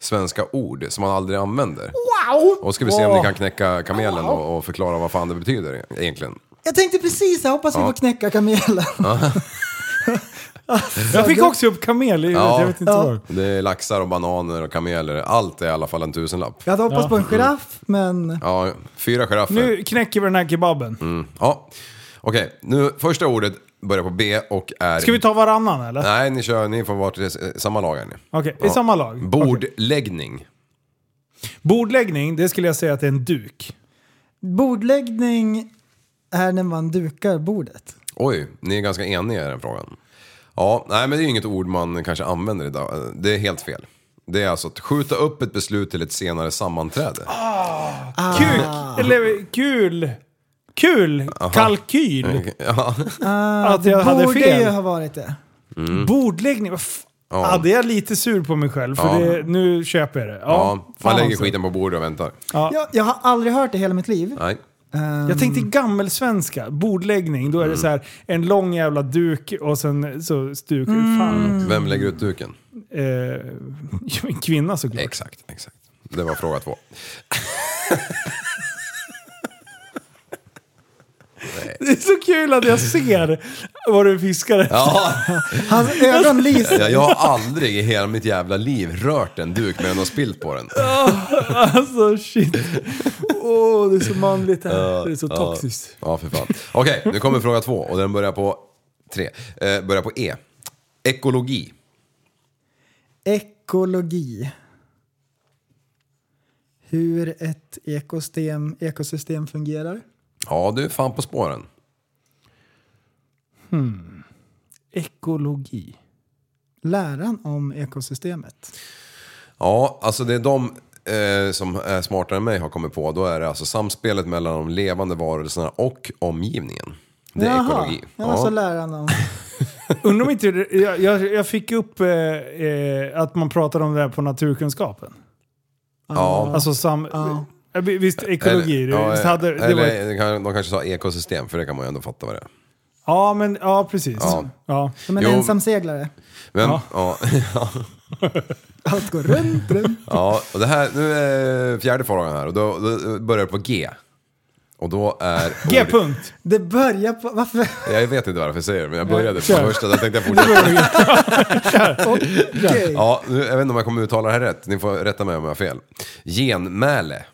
C: svenska ord som man aldrig använder.
B: Wow!
C: Och ska vi se om ni kan knäcka kamelen och, och förklara vad fan det betyder egentligen.
B: Jag tänkte precis, jag hoppas vi
C: Ja.
B: får knäcka kamelen. Alltså,
A: Jag fick också upp kamel i huvudet,
C: Ja.
A: jag vet inte
B: Ja.
A: vad.
C: Det är laxar och bananer och kameler. Allt är i alla fall en tusenlapp.
B: Jag hade hoppats
A: Ja.
B: på en giraff, men...
C: Ja, fyra giraffer.
A: Nu knäcker vi den här kebaben.
C: Mm. Ja. Okej, nu första ordet börjar på B och är...
A: Ska vi ta varannan eller?
C: Nej, ni kör, ni får vara till- samma lag är ni.
A: Okej, i samma lag.
C: Bordläggning.
A: Bordläggning, det skulle jag säga att det är en duk.
B: Bordläggning är när man dukar bordet.
C: Oj, ni är ganska eniga i den frågan. Ja, nej men det är ju inget ord man kanske använder idag. Det är helt fel. Det är alltså att skjuta upp ett beslut till ett senare sammanträde.
B: Ah.
A: Kuk, eller kul. Kul!
C: Mm.
A: Kalkyl!
C: Ja.
A: Att jag
B: det
A: hade
B: borde
A: fel.
B: ju ha varit det.
A: Bordläggning, vad f-
C: Mm. Ja.
A: Ja, det är jag lite sur på mig själv för
C: Ja.
A: det, nu köper jag det. Ja,
C: Ja,
A: fan
C: man lägger
A: alltså.
C: skiten på bordet och väntar.
A: Ja.
B: Jag, jag har aldrig hört det i hela mitt liv.
C: Nej.
B: Ehm,
A: Jag tänkte gammelsvenska, bordläggning, då är
C: Mm.
A: det så här en lång jävla duk och sen så stuk... Fan.
C: Vem lägger ut duken?
A: Eh, en kvinna såklart.
C: Exakt, exakt. Det var fråga två.
A: Det är så kul att jag ser vad du fiskar efter.
C: Ja,
B: Hans ögon lyser.
C: jag har aldrig i hela mitt jävla liv rört en duk med och spillt på den.
A: Alltså shit. Åh, det är så manligt här. Det är så toxiskt.
C: Ja, för fan. Okej, nu kommer fråga två och den börjar på tre. Eh, börjar på E. Ekologi.
B: Ekologi. Hur ett ekosystem, ekosystem fungerar.
C: Ja, du är fan på spåren.
A: Ekologi.
B: Läran om ekosystemet.
C: Ja, alltså det är de eh, som är smartare än mig har kommit på. Då är det alltså samspelet mellan de levande varelserna och omgivningen. Det är ekologi.
B: Ja, alltså
C: Ja.
B: läran om...
A: Undrar om inte... det- Jag, jag, jag fick upp eh, eh, att man pratade om det här på naturkunskapen.
C: Ja.
A: Alltså sam... Ja, vi- Visst, ekologi.
C: Eller-
A: det-
C: ja,
A: visst hade, det
C: eller,
A: var ett,
C: det kan- de kanske sa ekosystem, för det kan man ju ändå fatta vad det är.
A: ja, men ja, precis. Ja.
C: Ja.
B: Som en
C: Jo.
B: ensamseglare.
C: Men,
A: Ja.
C: ja. Ja,
B: Allt går runt, runt.
C: ja, och det här, nu är fjärde frågan här och då, då börjar det på G. Och då är... ordet-
A: G-punkt.
B: Det börjar på... Varför?
C: Jag vet inte varför jag säger det, men jag började på
A: Kör.
C: första, då tänkte jag fortsätta.
B: Okej.
C: Ja, nu, jag vet inte om jag kommer uttala det här rätt. Ni får rätta mig om jag har fel. Genmäle.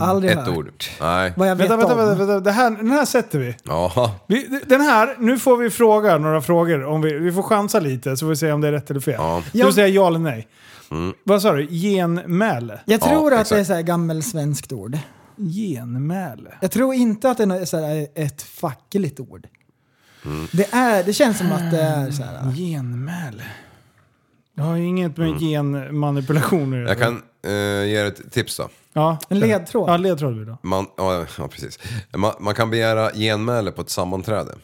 B: Aldrig
C: Mm, Ett
B: hört.
C: ord. Nej.
B: Vad jag vet
A: Vänta, vänta,
B: om.
A: vänta. vänta. Det här, den här sätter vi.
C: Ja.
A: vi. Den här, nu får vi fråga några frågor. Om vi, vi får chansa lite så får vi se om det är rätt eller fel.
C: Ja. Mm.
A: Du säger ja eller nej. Vad sa du? Genmäle?
B: Jag
C: Ja,
B: tror att det är
C: exakt.
B: så här gammelsvenskt ord.
A: Genmäle?
B: Jag tror inte att det är nå- så här ett fackligt ord.
C: Mm.
B: Det, är, det känns som att det är så här...
A: Genmäle? Det har ju inget med genmanipulation att göra.
C: Mm. Jag kan eh, ge er ett tips då.
A: Ja,
B: En
A: kör.
B: ledtråd.
A: Ja, ledtråd vill du ha.
C: Man, ja, ja, precis. Man, man kan begära genmäle på ett sammanträde.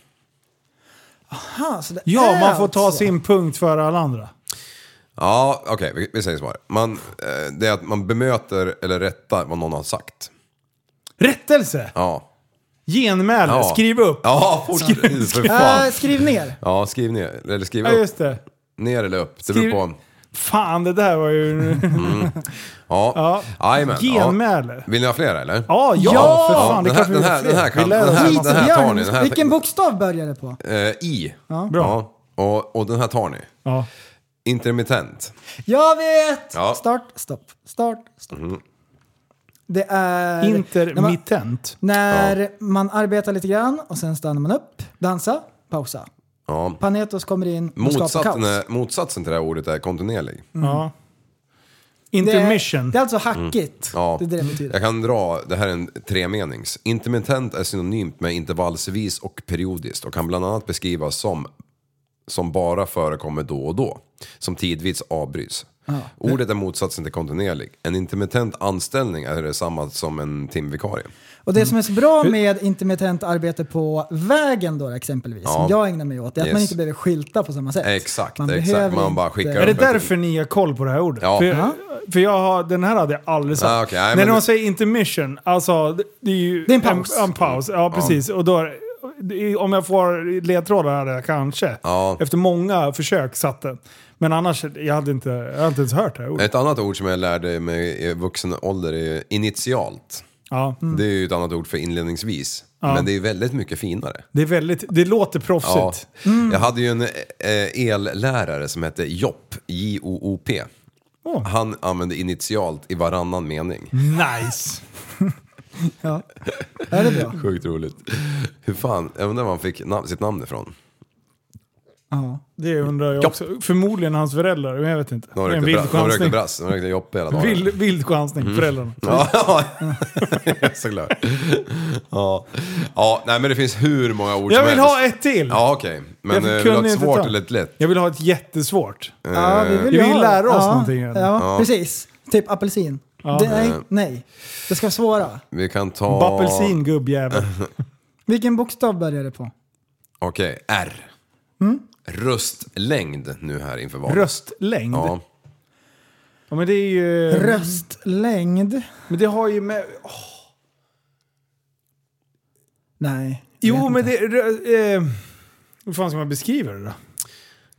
B: Aha, så det
A: Ja,
B: är
A: man får ta
B: alltså-
A: sin punkt före alla andra.
C: Ja, okej, vi, vi säger så här. Man, eh, det är att man bemöter eller rättar vad någon har sagt.
A: Rättelse!
C: Ja.
A: Genmäle,
C: ja.
A: skriv upp!
C: Ja, fortsätt. För
B: Äh,
C: fan.
B: skriv ner.
C: Ja, skriv ner. Eller skriv
A: Ja,
C: upp.
A: just det.
C: Ner eller upp. Det
A: Skriv-
C: beror på.
A: Fan, det där var ju...
C: Ja. Jajamän, Ja.
A: Genmäle.
C: Vill ni ha flera eller?
A: Ja, ja, för fan. det
C: den, här,
A: kanske vi
C: den, här,
A: vet.
C: den här kan,
A: Vi lär
C: den här,
A: oss.
B: Skit
C: den här
B: i
C: tar
B: Björn.
C: ni. Den här,
B: Vilken bokstav börjar det på?
C: eh, I. Ja.
A: Bra.
C: Och, och den här tar ni.
A: Ja.
C: Intermittent.
B: Jag vet!
C: Ja. Mhm.
B: Start, stopp, start, stopp. Det är... när man,
A: Intermittent.
B: när man arbetar lite grann och sen stannar man upp, dansa, pausa.
C: Ja.
B: Panetos kommer in och skapar kaos. Mm.
C: Motsatsen, är, motsatsen till det här ordet är kontinuerlig.
A: Ja. Intermission.
B: Det är alltså hackigt.
C: Mm. Ja.
B: Det är det det betyder.
C: Jag kan dra, det här är en tremenings. Intermittent är synonymt med intervallsvis och periodiskt och kan bland annat beskrivas som som bara förekommer då och då, som tidvis avbryts. Ordet är motsatsen till kontinuerlig. En intermittent anställning är detsamma som en timvikarie.
B: Och det som är så bra
A: Mm.
B: med intermittent arbete på vägen då exempelvis,
C: Ja.
B: som jag ägnar mig åt, det är att man
C: Yes.
B: inte behöver skylta på samma sätt.
C: Exakt,
B: Man
C: exakt.
B: behöver
C: Man bara
B: inte-
C: skickar
A: Är det
C: upp en-
A: därför ni har koll på det här ordet?
C: Ja.
A: För,
C: Ja.
A: för jag har, den här hade jag aldrig sagt.
C: Ah, okej, nej,
A: När
C: men
A: de
C: det-
A: säger intermission, alltså det, det är ju... Det
B: är en paus.
A: En, paus, ja precis. Och då, är- det är- om jag får ledtrådar hade jag kanske.
C: Ja.
A: Efter många försök satt den. Men annars, jag hade inte, jag hade inte ens hört det här ordet.
C: Ett annat ord som jag lärde mig i vuxen ålder är initialt.
A: Ja.
B: Mm.
C: Det är ju ett annat ord för inledningsvis.
A: Ja.
C: Men det är ju väldigt mycket finare.
A: Det, är väldigt, det låter
C: Ja.
A: proffsigt.
C: Jag hade ju en eh, ellärare som hette Jopp, J-O-O-P.
A: Åh. Mm.
C: Han använde initialt i varannan mening.
A: Nice!
B: Ja. Är det
A: Eh,
B: bra?
C: Sjukt roligt. Hur fan, jag undrar var han fick nam- sitt namn ifrån.
B: Ja.
A: Det undrar jag
C: Ja.
A: också. Förmodligen hans föräldrar, men jag vet inte. Det
C: De
A: är en
C: rökte,
A: vild
C: bra, de rökte
A: chansning.
C: brass, de rökte Joppe hela dagen.
A: Vild, vild chansning,
C: Mm.
A: föräldrarna.
C: Ja, ja. såklart. Ja. ja, nej men det finns hur många ord
A: Jag
C: som
A: vill
C: helst.
A: ha ett till!
C: Ja, okej. Men
A: Jag
C: eh, vill
A: kunde
C: du ha ett
A: inte
C: svårt
A: ta.
C: eller ett lätt?
A: Jag vill ha ett jättesvårt.
B: Ja, vi vill
A: Vi
B: ju
A: vill
B: ha-
A: lära oss
B: ja,
A: någonting.
B: Ja,
A: Ja.
B: precis. Typ apelsin. Det, nej,
C: Eh.
B: nej. Det ska vara svåra.
C: Vi kan ta...
A: Bappelsin gubbjävel.
B: Vilken bokstav börjar det på?
A: Mm.
C: Okej, R. Röstlängd nu här inför valet.
A: Röstlängd. Ja.
C: Ja.
A: men det är ju...
B: Röstlängd?
A: Men det har ju med... åh,
B: Nej. jag
A: jo
B: vet
A: men
B: inte.
A: det... Rö, eh, hur fan ska man beskriva det då?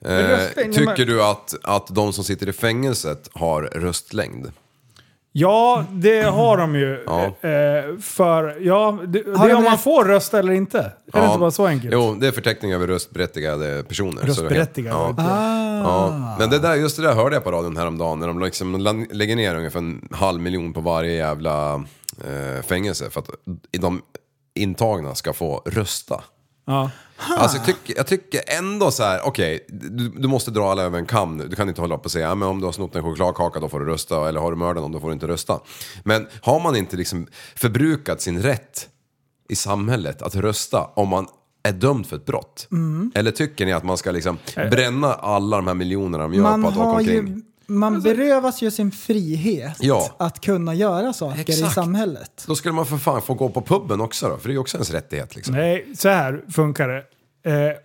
C: Eh,
A: röstlängd,
C: tycker
A: men-
C: du att, att de som sitter i fängelset har röstlängd?
A: Ja, det har de ju.
C: Ja.
A: Eh, för, ja, det, det
B: de
A: är om man
B: rätt?
A: får rösta eller inte. Är det inte bara så enkelt?
C: Jo, det är förteckning över röstberättigade personer. så det kan-
A: Röstberättigad.
C: Ja.
A: Ah.
C: Ja. Men det där, just det där hörde jag på radion häromdagen när de liksom la- lägger ner ungefär en halv miljon på varje jävla eh, fängelse för att de intagna ska få rösta.
A: Ja.
C: Alltså, jag, tycker, jag tycker ändå så här, okej, du, du måste dra alla över en kam nu. Du kan inte hålla på och säga, "Ja, men om du har snott en chokladkaka då får du rösta, eller har du mördat någon då får du inte rösta. Men har man inte liksom förbrukat sin rätt i samhället att rösta om man är dömd för ett brott? Eller tycker ni att man ska liksom bränna alla de här miljonerna de gör
B: man
C: på att åka
B: har
C: omkring?
B: ju, man berövas ju sin frihet
C: Ja.
B: att kunna göra saker i
C: Exakt.
B: samhället.
C: Då skulle man för fan få gå på puben också då, för det är ju också ens rättighet liksom.
A: Nej, så här funkar det. Eh,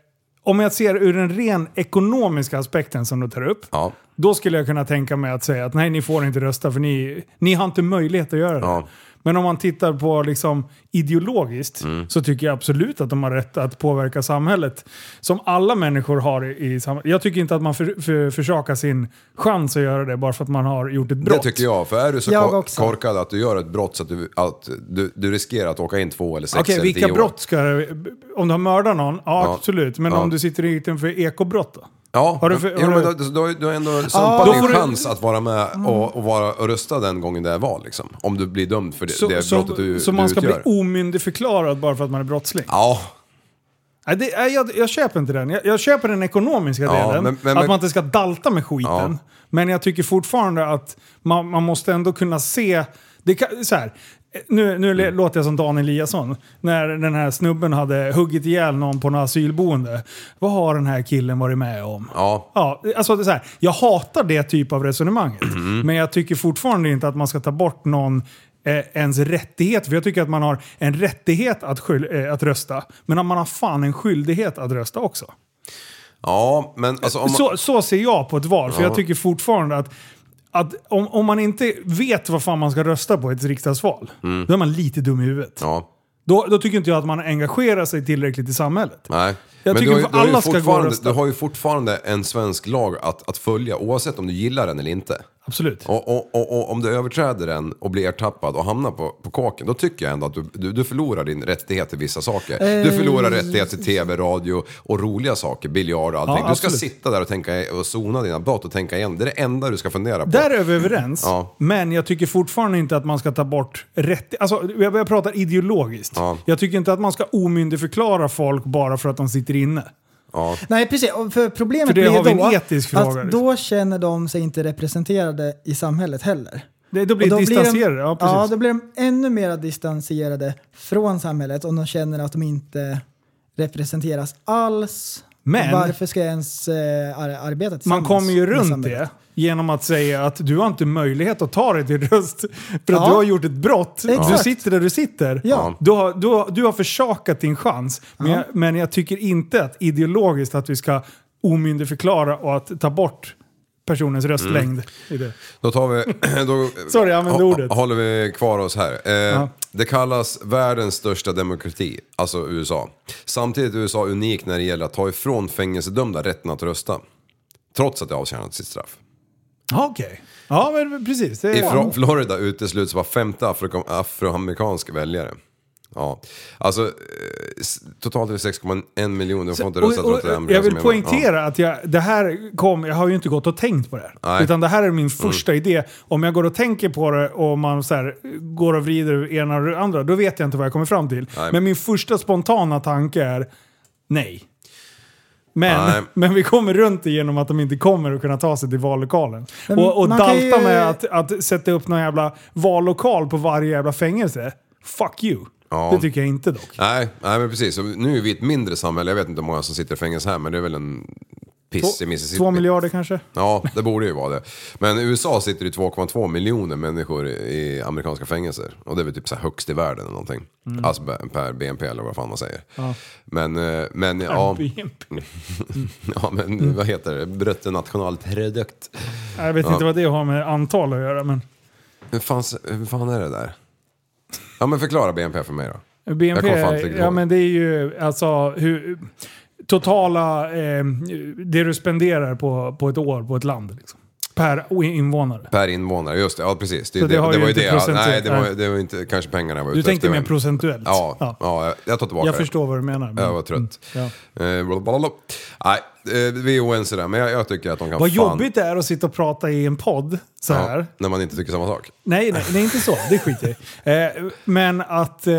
A: om jag ser ur den ren ekonomiska aspekten som du tar upp.
C: Ja.
A: Då skulle jag kunna tänka mig att säga att nej, ni får inte rösta för ni, ni har inte möjlighet att göra det.
C: Ja.
A: Men om man tittar på liksom ideologiskt
C: Mm.
A: så tycker jag absolut att de har rätt att påverka samhället. Som alla människor har i, i samhället. Jag tycker inte att man för, för, försakar sin chans att göra det bara för att man har gjort ett brott.
C: Det tycker jag, för är du så
B: Jag
C: ko-
B: också.
C: korkad att du gör ett brott så att du, att du, du riskerar att åka in två eller sex
A: Okej,
C: eller
A: vilka
C: tio år.
A: brott ska Om du har mördat någon? Ja,
C: Ja.
A: absolut. Men
C: Ja.
A: om du sitter i ytan för ekobrott då?
C: Ja,
A: Har du för-
C: jo,
A: har
C: men
A: du-
C: då, då, då, då är ändå
A: då
C: sumpat din
A: får du- Mm.
C: chans att vara med och, och, vara, och rösta den gången det är val liksom. Om du blir dömd för det,
A: Så,
C: det
A: så,
C: brottet du,
A: så man
C: du
A: ska
C: utgör.
A: bli omyndigförklarad bara för att man är brottsling?
C: Ja,
A: Nej, det, nej, jag, jag köper inte den. Jag, jag köper den ekonomiska
C: Ja,
A: delen.
C: men- men-
A: att
C: men-
A: man inte ska dalta med skiten.
C: Ja.
A: Men jag tycker fortfarande att man, man måste ändå kunna se... Det kan, så här, nu nu
C: Mm.
A: le- låter jag som Dan Eliasson. När den här snubben hade huggit ihjäl någon på något asylboende. Vad har den här killen varit med om?
C: ja.
A: Ja, alltså det är så här, jag hatar det typ av resonemanget.
C: Mm.
A: Men jag tycker fortfarande inte att man ska ta bort någon eh, ens rättighet. För jag tycker att man har en rättighet att, skyl- eh, att rösta. Men man har fan en skyldighet att rösta också.
C: ja, men alltså om man,
A: Så, så ser jag på ett val. För jag tycker fortfarande att, att om, om man inte vet vad fan man ska rösta på i ett riksdagsval. Då är man lite dum i huvudet.
C: ja,
A: Då, då tycker inte jag att man engagerar sig tillräckligt i samhället.
C: nej.
A: Jag
C: men
A: tycker
C: du, har
A: för
C: ju- du, har ju
A: alla ska gå och
C: fortfarande-
A: rösta.
C: du har ju fortfarande en svensk lag att, att följa oavsett om du gillar den eller inte.
A: Absolut.
C: Och, och, och, och om du överträder den och blir ertappad och hamnar på, på kåken, då tycker jag ändå att du, du, du förlorar din rättighet till vissa saker.
A: Eh.
C: Du förlorar rättighet till tv, radio och roliga saker, biljard och allting.
A: Ja,
C: du ska
A: absolut.
C: sitta där och, tänka, och sona dina brott och tänka igen. Det är det enda du ska fundera på.
A: Där är vi överens.
C: Ja.
A: Men jag tycker fortfarande inte att man ska ta bort rätt... Alltså, jag, jag pratar ideologiskt.
C: Ja.
A: Jag tycker inte att man ska omyndigförklara folk bara för att de sitter inne.
C: Ja.
B: Nej, precis. Och För problemet
A: För det
B: blir
A: har vi en
B: då
A: etisk
B: att
A: fråga, liksom.
B: då känner de sig inte representerade i samhället heller.
A: Det, då blir
B: Och
A: det
B: de-
A: distanserade. ja, precis.
B: då blir de ännu mer distanserade från samhället om de känner att de inte representeras alls.
A: Men-
B: Varför ska jag ens eh, ar- arbeta tillsammans?
A: Man kommer ju
B: med
A: runt
B: samhället?
A: det genom att säga att du har inte möjlighet att ta dig till röst för att
B: Ja.
A: du har gjort ett brott. Du
B: Exakt.
A: sitter där du sitter.
B: Ja.
A: Du, har, du, har, du har försakat din chans. Men,
B: Ja.
A: jag, men jag tycker inte att ideologiskt att vi ska omyndigförklara och att ta bort personens
B: Mm.
A: röstlängd. i det.
C: Då tar vi... Då,
A: Sorry, jag använde
C: hå-
A: ordet.
C: Håller vi kvar oss här. Eh, Det kallas världens största demokrati, alltså USA. Samtidigt är USA unikt när det gäller att ta ifrån fängelsedömda rätten att rösta. Trots att de avtjänat sitt straff.
A: Ja, Okej. Ja, men precis. Det
C: I
A: är,
C: Fro- Florida utesluts var femte afro- afroamerikansk väljare. Ja, alltså eh, s- totalt är det 6,1 miljoner. De får inte
A: Och-
C: rösta trots
A: och
C: att det är amerikaner
A: jag vill
C: som är med.
A: poängtera att jag, det här kom, jag har ju inte gått och tänkt på det här.
C: Nej. Mm.
A: Utan det här är min första idé. Om jag går och tänker på det och man så här, går och vrider ena och det andra, då vet jag inte vad jag kommer fram till.
C: Nej.
A: Men min första spontana tanke är nej.
C: Nej.
A: Men, men vi kommer runt det genom att de inte kommer att kunna ta sig till vallokalen.
B: Men
A: och och
B: man kan
A: dalta
B: ju-
A: med att, att sätta upp någon jävla vallokal på varje jävla fängelse. Fuck you.
C: Ja.
A: Det tycker jag inte dock.
C: Nej, nej, men precis. Och Nu är vi ett mindre samhälle. Jag vet inte hur många som sitter i fängelse här, men det är väl en piss i Mississippi.
A: Två miljarder kanske?
C: Ja, det borde ju vara det. Men i USA sitter det 2,2 miljoner människor i amerikanska fängelser. Och det är väl typ så här högst i världen eller någonting. Alltså per- per BNP eller vad fan man säger.
A: Mm. Ja.
C: Men, eh, men ja...
A: BNP.
C: ja, men
A: Mm.
C: vad heter det? Bruttonationalprodukt.
A: Jag vet
C: Ja.
A: inte vad det har med antal att göra, men
C: Hur fan, hur fan är det där? Ja, men förklara BNP för mig då. Jag
A: BNP,
C: kommer fan inte riktigt
A: ja
C: ihåg.
A: men det är ju alltså hur, totala, eh, det du spenderar på, på ett år på ett land. Liksom. Per o- invånare.
C: Per invånare, just det. Ja, precis. Det,
A: Så det
C: det,
A: har
C: det
A: ju
C: var ju
A: inte
C: det. Ja,
A: procentuellt,
C: nej, det var,
A: nej.
C: det var inte kanske pengarna jag var
A: Du
C: ute
A: tänkte
C: efter,
A: mer
C: men-
A: procentuellt?
C: Ja, ja.
A: Ja.
C: jag- jag tar tillbaka
A: Jag
C: det.
A: förstår vad du menar. men-
C: Jag var trött.
A: Mm,
C: Eh, blablabla. Nej, eh, vi är oense där, men jag, jag tycker att de kan
A: Vad
C: fan...
A: jobbigt det är att sitta och prata i en podd så här.
C: Ja, när man inte tycker samma sak.
A: Nej, nej, nej, inte så. Det skiter jag i. eh, Men att, eh,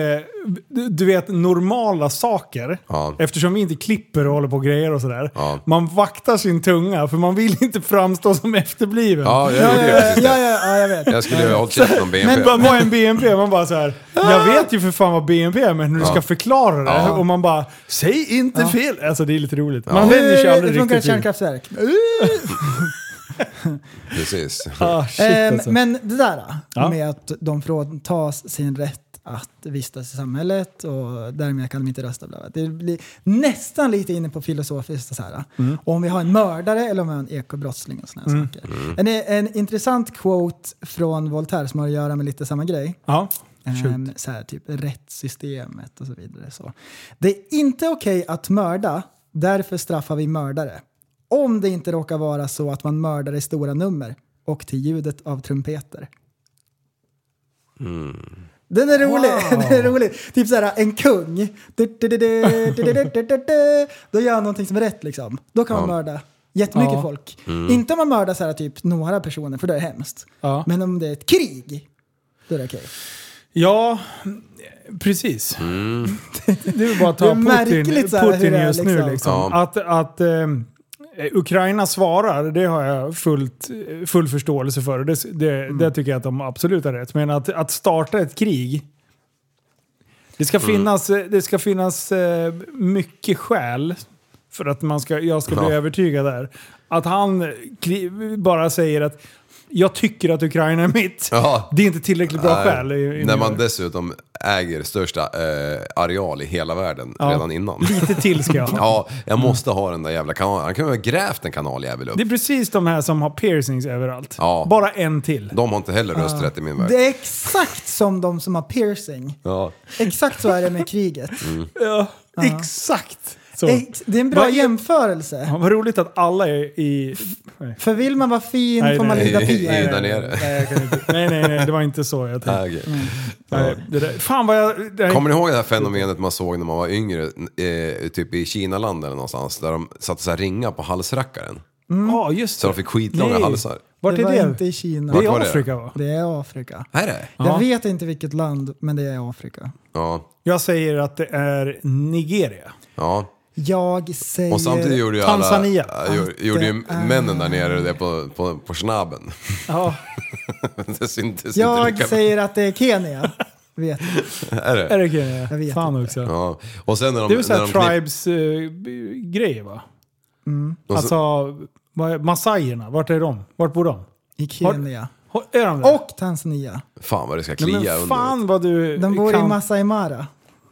A: du- du vet, normala saker.
C: Ja.
A: Eftersom vi inte klipper och håller på och grejer och sådär.
C: Ja.
A: Man vaktar sin tunga för man vill inte framstå som efterbliven.
C: Ja, jag gjorde ju precis
B: Ja,
C: det.
B: ja, ja, jag vet.
C: Jag skulle ju ha hållit käften om BNP.
A: Men bara, vad är en BNP? Man bara så här. jag vet ju för fan vad BNP är men hur du
C: Ja.
A: ska förklara det.
C: Ja.
A: Och man bara, säg inte
B: Ja.
A: fel! Alltså det är lite roligt.
C: Ja.
A: Man vänjer sig
B: Hur
A: aldrig
B: funkar ett
A: riktigt. till-
B: kärnkraftverk?
C: Precis.
A: Ah, shit,
B: Ehm,
A: alltså.
B: Men det där då,
A: Ja.
B: med att de fråntas sin rätt att vistas i samhället och därmed kan de inte rösta. Bla bla. Det blir nästan lite inne på filosofiskt. Så här,
A: Mm.
B: och om vi har en mördare eller om vi har en ekobrottsling och sådana saker. En, en intressant quote från Voltaire som har att göra med lite samma grej.
A: ja.
B: Ehm, så här, typ rättssystemet och så vidare. Så. Det är inte okej att mörda, därför straffar vi mördare. Om det inte råkar vara så att man mördar i stora nummer och till ljudet av trumpeter. Den är rolig. Den är rolig. Typ såhär, en kung. Du, du, du, du, du, du, du, du, du, du. Då gör han någonting som är rätt liksom. Då kan man
C: Ja.
B: mörda jättemycket
A: Ja.
B: folk. Inte om man mördar så här, typ några personer, för det är hemskt.
A: Ja.
B: Men om det är ett krig, då är det okej.
A: Ja, precis.
C: Mm.
A: Det är bara att
B: Det är
A: ta Putin,
B: märkligt så här hur
A: Putin
B: det är
A: just nu
B: liksom.
A: liksom.
C: Ja.
A: Att, att ehm, Ukraina svarar, det har jag fullt, full förståelse för. Det, det,
C: Mm.
A: det tycker jag att de absolut har rätt. Men att, att starta ett krig, det
C: Mm.
A: ska finnas, det ska finnas eh, mycket skäl för att man ska, jag ska bli
C: Ja.
A: övertygad där. Att han kli- bara säger att jag tycker att Ukraina är mitt.
C: Ja.
A: Det är inte tillräckligt bra
C: Nej,
A: skäl. i- i
C: när
A: min
C: man
A: värld.
C: dessutom äger största eh, areal i hela världen
A: Ja.
C: redan innan.
A: Lite till ska jag ha.
C: Ja, jag måste ha den där jävla kanalen. Han kan ju ha grävt en kanaljävel upp.
A: Det är precis de här som har piercings överallt.
C: Ja.
A: Bara en till.
C: De har inte heller rösträtt i min värld.
B: Det är exakt som de som har piercing.
C: Ja.
B: Exakt så är det med kriget.
C: Mm.
A: Ja, Exakt! Så.
B: Ex- det är en bra
A: Vad är-
B: jämförelse.
A: Ja, vad roligt att alla är i... Nej,
B: För vill man vara fin
A: Nej,
B: får man
A: nej.
B: ligga Eh,
C: I- i-
B: fin.
C: Där nere.
A: nej, jag kan inte. nej, nej, nej, det var inte så jag tänkte.
C: Ah, okej.
A: Nej, det där. Fan vad jag... Det här,
C: Kommer ni ihåg det här fenomenet man såg när man var yngre, eh, typ i Kinaland eller någonstans, där de satte så här ringar på halsrackaren?
A: Ja, just
C: Så de
A: det.
C: fick skitlånga
A: Mm. Nej.
C: halsar.
A: Vart
B: det
A: är
B: var
A: det?
B: inte i Kina.
A: Det
C: Vart
A: är
C: var det?
A: Afrika va?
B: Det är Afrika.
C: Är det?
B: Jag vet inte vilket land, men det är Afrika.
C: Ja.
A: Jag säger att det är Nigeria.
C: ja.
B: Jag säger
C: Och samtidigt gjorde ju alla,
B: Tanzania.
C: äh, gjorde- gjorde ju männen där nere det på, på, på snabben.
B: Ja.
C: det syntes inte
B: Jag
C: lika
B: säger att det är Kenya. Vet.
C: Är det?
A: Är det Kenya?
B: Jag vet
A: Fan också.
C: Ja. Och sen när de,
A: Det är väl såhär
C: när de knipp- Mm.
A: tribes-grejer eh, va?
C: Och
A: Alltså,
C: så-
A: vad är- massajerna, vart är de? Vart bor de?
B: I Kenya.
A: Har, är de där?
B: Och Tanzania.
C: Fan vad det ska
A: Nej,
C: klia
A: men fan vad du
B: De bor i
A: kan-
B: Masai Mara.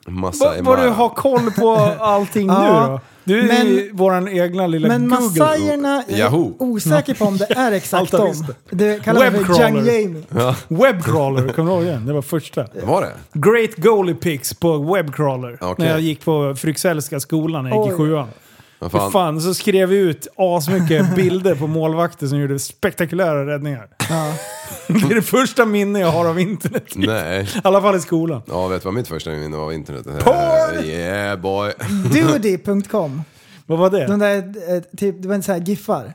C: Massa
A: Vad vad du har koll på allting nu
B: Ja,
A: då? Du är
B: men-
A: ju våran egna lilla
B: Men
A: Google.
B: massajerna, jag
C: Yahoo.
B: är osäker på om det är exakt
A: Allt jag
B: dem.
A: visste.
B: Det kallas för
A: Webcrawler.
B: Young Jamie.
A: Webcrawler, kommer du ihåg den? Det var första.
C: Var det?
A: Great Goalie Picks på Webcrawler.
C: Okej.
A: När jag gick på Fryxellska skolan när jag gick i
B: Oj.
A: sjuan.
C: Vad
A: Fan.
C: fan.
A: fan, så skrev vi ut asmycket bilder på målvakter som gjorde spektakulära räddningar. det är det första minne jag har av internet. I
C: Nej.
A: alla fall i skolan.
C: Ja, vet du vad mitt första minne var av internet?
A: Porn!
C: Yeah boy.
B: Doody.com.
A: Vad var det?
B: De där, eh, typ, det var en sån här giffar.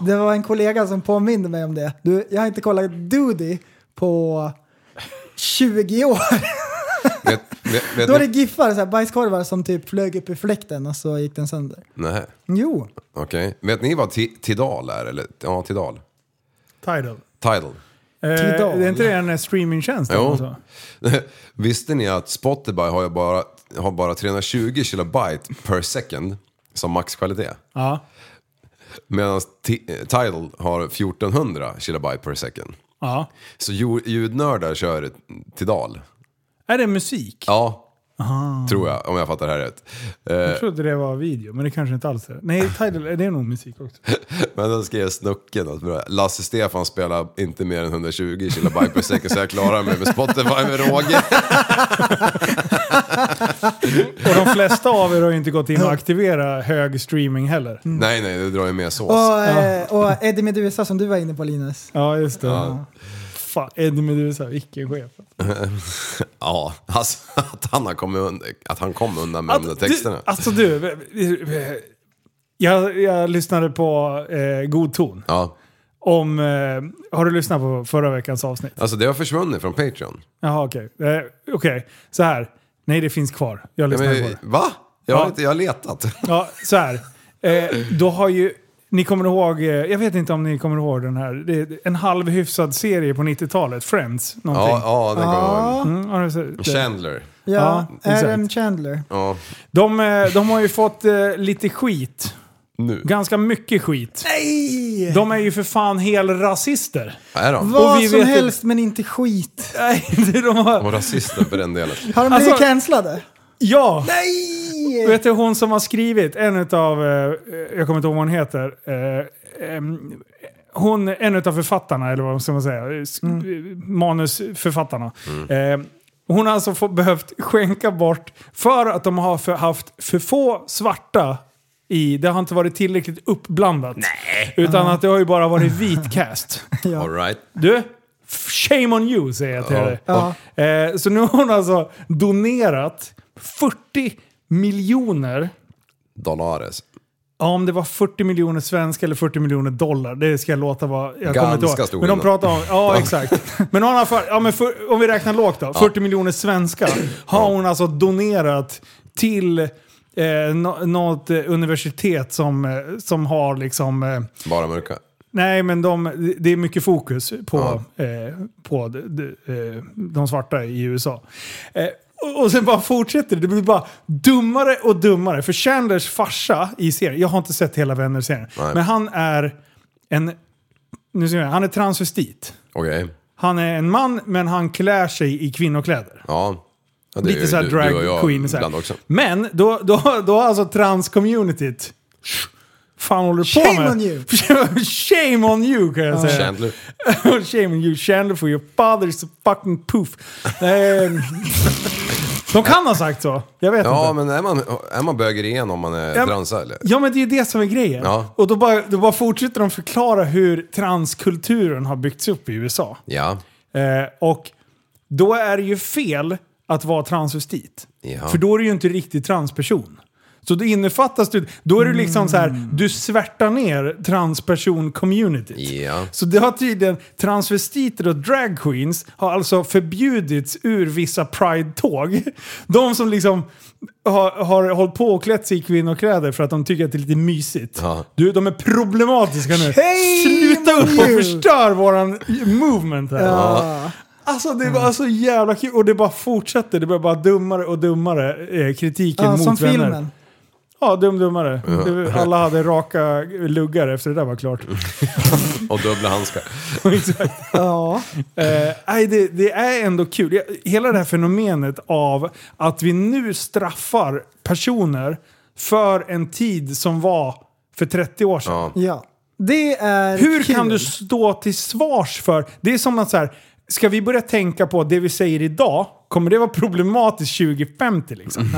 B: Det var en kollega som påminde mig om det. Du, jag har inte kollat Doody på 20 år.
C: Vet, vet, vet
B: Då var det
C: ni?
B: giffar, så här bajskorvar som typ flög upp i fläkten och så gick den sönder.
C: Nej.
B: Jo,
C: Okej. Vet ni vad ti- Tidal är? Eller? Ja, Tidal.
A: Tidal.
C: Tidal.
A: Eh,
B: Tidal.
A: det är inte det en streamingtjänst? eller
C: Jo.
A: något så? Alltså.
C: Visste ni att Spotify har ju bara, har bara 320 kilobyte per second som maxkvalitet?
A: Ja.
C: Medan Ti- eh, Tidal har 1400 kilobyte per second.
A: ja.
C: Så ju- ljudnördar kör Tidal.
A: Är det musik?
C: Ja. Tror jag, om jag fattar det här rätt. Eh,
A: Jag trodde det var video, men det kanske inte alls är. Nej, Tidal, det är nog musik också.
C: Men då skrev Snucken att bra, Lasse Stefan spelar inte mer än 120 kilobyte per second så jag klarar mig med Spotify med råge.
A: Och de flesta av er har ju inte gått in och aktiverat hög streaming heller.
C: Nej, nej, det drar ju med sås.
B: och, eh, och Eddie Meduza som du var inne på Linus.
A: Ja, just det. Fan, Eddie Meduza, vilken chef.
C: Ja, alltså, att han, har kommit undan, att han kom undan med de där
A: Att
C: texterna.
A: Du, alltså du, eh, jag, jag lyssnade på eh, God ton.
C: Ja,
A: Om, eh, har du lyssnat på förra veckans avsnitt?
C: alltså det har försvunnit från Patreon.
A: Jaha, okej. Eh, okej, så här. Nej, det finns kvar. Jag
C: Ja,
A: lyssnade på
C: men,
A: det.
C: va? Jag har,
A: Ja.
C: inte, jag har letat.
A: Ja, så här. Eh, då har ju... Ni kommer ihåg, eh, jag vet inte om ni kommer ihåg den här, det är en halvhyfsad serie på 90-talet, Friends,
C: Ja,
A: någonting.
C: ja den kommer jag ihåg.
A: Mm, har du sett det?
C: Chandler.
B: Ja,
A: Ja, exakt.
B: Adam Chandler.
C: Ja,
A: De, eh, de har ju fått eh, lite skit.
C: nu.
A: Ganska mycket skit. Nej! De är ju för fan helrasister.
C: Är de?
B: Vad
A: vi
B: som
A: vet-
B: helst men inte skit.
A: Nej, det de har...
C: Och rasister för den delen.
B: Har de blivit
A: Alltså-
B: cancellade?
A: Ja!
B: Nej!
A: Vet du hon som har skrivit, en utav, eh, jag kommer inte ihåg vad hon heter, eh, em, hon, en utav författarna, eller vad ska man säga, eh, sk- manusförfattarna. Eh, hon har alltså få, behövt skänka bort, för att de har för, haft för få svarta i, det har inte varit tillräckligt uppblandat. Utan att det har ju bara varit vit cast.
C: All right.
A: Du, shame on you säger jag till
C: Ja.
A: dig. Eh, så nu har hon alltså donerat 40 miljoner,
C: Donares.
A: ja, om det var 40 miljoner svenska eller 40 miljoner dollar, det ska jag låta vara. Jag kommer inte
C: Ganska
A: ihåg.
C: stor
A: Men de
C: skillnad.
A: pratar om, ja exakt. Men hon har, för, ja, men för, om vi räknar lågt då, 40 miljoner svenska har hon alltså donerat till eh, nå- något eh, universitet som, eh, som har liksom eh,
C: Bara mörka.
A: Nej, men de, det är mycket fokus på,
C: Ja.
A: eh, på de, de, eh, de svarta i USA. Eh, och, och sen bara fortsätter det. Det blir bara dummare och dummare. För Chandlers farsa i serien, jag har inte sett hela Vänner-serien,
C: Nej.
A: men han är en... Nu ser jag, han är transvestit.
C: Okej.
A: Han är en man, men han klär sig i kvinnokläder.
C: Ja. ja det är
A: Lite
C: ju
A: såhär
C: du- du och
A: drag
C: jag
A: queen. Så
C: ibland
A: här.
C: också.
A: Men då, då, då har alltså trans-communityt... fan håller du på
B: Shame
A: med?
B: on you.
A: Shame on you kan jag säga.
C: Chandler.
A: Shame on you Chandler for your father's fucking poof. Ehm, De kan ha sagt så. Jag vet
C: Ja,
A: inte.
C: men är man, är man böger igen om man är
A: Mm. Ja, men-
C: transa eller?
A: Ja men det är ju det som är grejen.
C: Ja.
A: Och då bara, då bara fortsätter de förklara hur transkulturen har byggts upp i USA.
C: Ja.
A: Eh, och då är det ju fel att vara transvestit.
C: Ja.
A: För då är du ju inte riktigt transperson. Så då innefattas du, då är du liksom så här, du svärtar ner transperson-communityt.
C: Mm. Ja.
A: Så det har tydligen, transvestiter och drag queens har alltså förbjudits ur vissa pride-tåg. De som liksom har, har hållit på och klätt sig i kvinnokläder för att de tycker att det är lite mysigt.
C: Ja.
A: Du, de är problematiska nu.
B: Shame
A: Sluta upp
B: on you.
A: och förstör våran movement här.
B: Ja.
A: Alltså det var så jävla kul och det bara fortsatte. Det blev bara dummare och dummare eh, kritiken
B: Ja,
A: mot
B: som
A: vänner.
B: filmen.
A: Ja, dum-dummare. Det- Alla hade raka luggar efter det där var klart. Liksom.
C: Och dubbla handskar.
A: Exakt.
B: Ja.
A: Eh, nej, det, det är ändå kul. Jag- Hela det här fenomenet av att vi nu straffar personer för en tid som var för 30 år sedan.
C: Ja.
B: ja. Det är
A: Hur
B: kul.
A: kan du stå till svars för... Det är som att så här, ska vi börja tänka på det vi säger idag, kommer det vara problematiskt 2050 liksom?